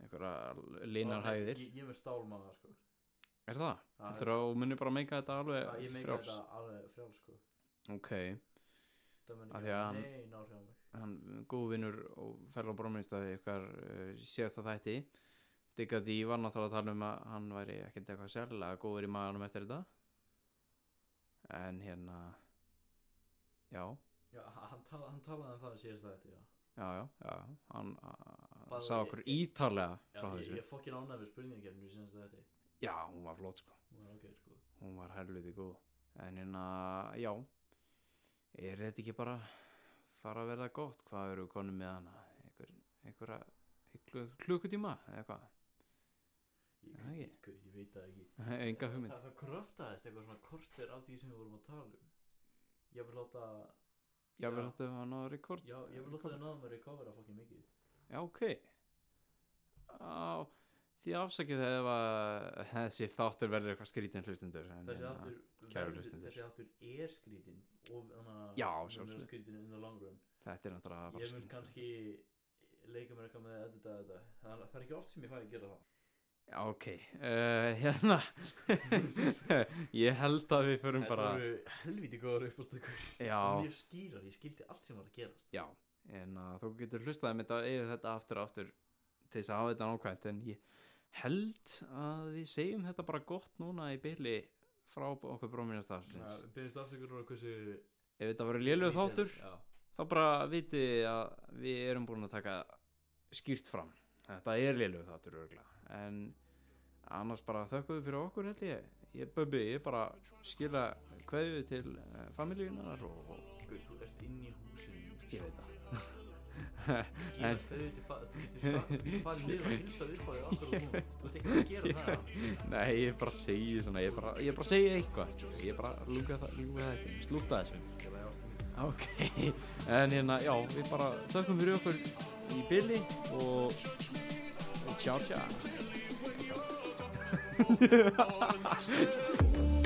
Speaker 1: einhverja linarhæðir
Speaker 2: Ég, ég er með stálmaga, sko
Speaker 1: Er það?
Speaker 2: Já,
Speaker 1: Þetta er að þú munir bara meika þetta alveg
Speaker 2: Að Ég meika
Speaker 1: frjáls
Speaker 2: þetta alveg frjáls, sko
Speaker 1: Ok,
Speaker 2: Það meni
Speaker 1: Af
Speaker 2: ekki
Speaker 1: því að hann-
Speaker 2: neina áhrif á mig
Speaker 1: hann góð vinnur og ferla brómiðstæði ykkar uh, síðasta þætti Digga D var náttúrulega að tala um að hann væri ekkert eitthvað sérlega góður í maðanum eftir þetta En hérna Já,
Speaker 2: Já, hann, tala, hann talaði um það síðast þetta, já
Speaker 1: já, já, já Hann uh,
Speaker 2: Bara
Speaker 1: sá
Speaker 2: ég-
Speaker 1: okkur ítarlega
Speaker 2: Já,
Speaker 1: frá
Speaker 2: ég,
Speaker 1: þessu
Speaker 2: ég fokkin ánægð með spurningakefninu síðast þetta
Speaker 1: Já, hún var flott sko
Speaker 2: Hún var ágæð, sko
Speaker 1: Hún var helviti góð En hérna, já Er þetta ekki bara fara að verða gott? Hvað eru konum með hana? Einhver, einhverja einhver, klukkutíma eða hvað?
Speaker 2: Ég,
Speaker 1: Já, ég-
Speaker 2: ég, ég veit það ekki
Speaker 1: Ah, Enga hugmynd
Speaker 2: Það, það kröftaðist eitthvað svona kortir af því sem við vorum að tala um Ég vil láta
Speaker 1: Já, við
Speaker 2: já.
Speaker 1: láttum að ná rekord
Speaker 2: Já, ég vil láta þau náðum að recovera fokkin mikið
Speaker 1: Já, ok Já, því afsakið þegar það var þessi þáttur verður eitthvað skrítin hlustendur en
Speaker 2: Þessi
Speaker 1: hérna-
Speaker 2: áttur,
Speaker 1: kæru
Speaker 2: verður,
Speaker 1: hlustendur.
Speaker 2: þessi áttur er skrítin og þannig að
Speaker 1: Já,
Speaker 2: hún er
Speaker 1: sjálfsögðu.
Speaker 2: skrítin in the long run
Speaker 1: Þetta er náttúrulega bara
Speaker 2: Ég mun
Speaker 1: skrýtin.
Speaker 2: kannski leika mér eitthvað með að edita þetta Það það er ekki oft sem ég fæ að gera það
Speaker 1: Já, ok uh, Hérna Ég held að við förum
Speaker 2: Þetta
Speaker 1: bara
Speaker 2: eru helviti góður uppástökur
Speaker 1: Já
Speaker 2: Mjög skýrar, ég skildi allt sem var að gerast
Speaker 1: Já, en að þú getur hlustað um þetta eða þetta aftur og aftur til þess að hafa þetta nákvæmt en ég held að við segjum þetta bara gott núna í byrli frá okkur bróminastar
Speaker 2: Já,
Speaker 1: ef
Speaker 2: Byrðist afsökur og hversu
Speaker 1: þetta var lélugur
Speaker 2: lítið-
Speaker 1: þáttur
Speaker 2: Já
Speaker 1: þá bara vitið þið að við erum búin að taka skýrt fram þetta er lélugur þáttur örgulega en annars bara þökkum við fyrir okkur held ég ég, Böbbi, ég bara skila kveðju til familíunar og, og
Speaker 2: Guð, þú ert inn í húsinu
Speaker 1: ég veit það En-
Speaker 2: Skýra, þau getur fa- þú getur fa- þú getur farið niður að hilsa við bara okkur og núna Þú ert ekki að gera það
Speaker 1: Nei, ég bara segi svona, ég bara, ég bara segi eitthvað Ég bara lúka það, lúka það ekki, slúta þessu Ok, en hérna, já, við bara þökkum fyrir okkur í bili og, og tjá tjá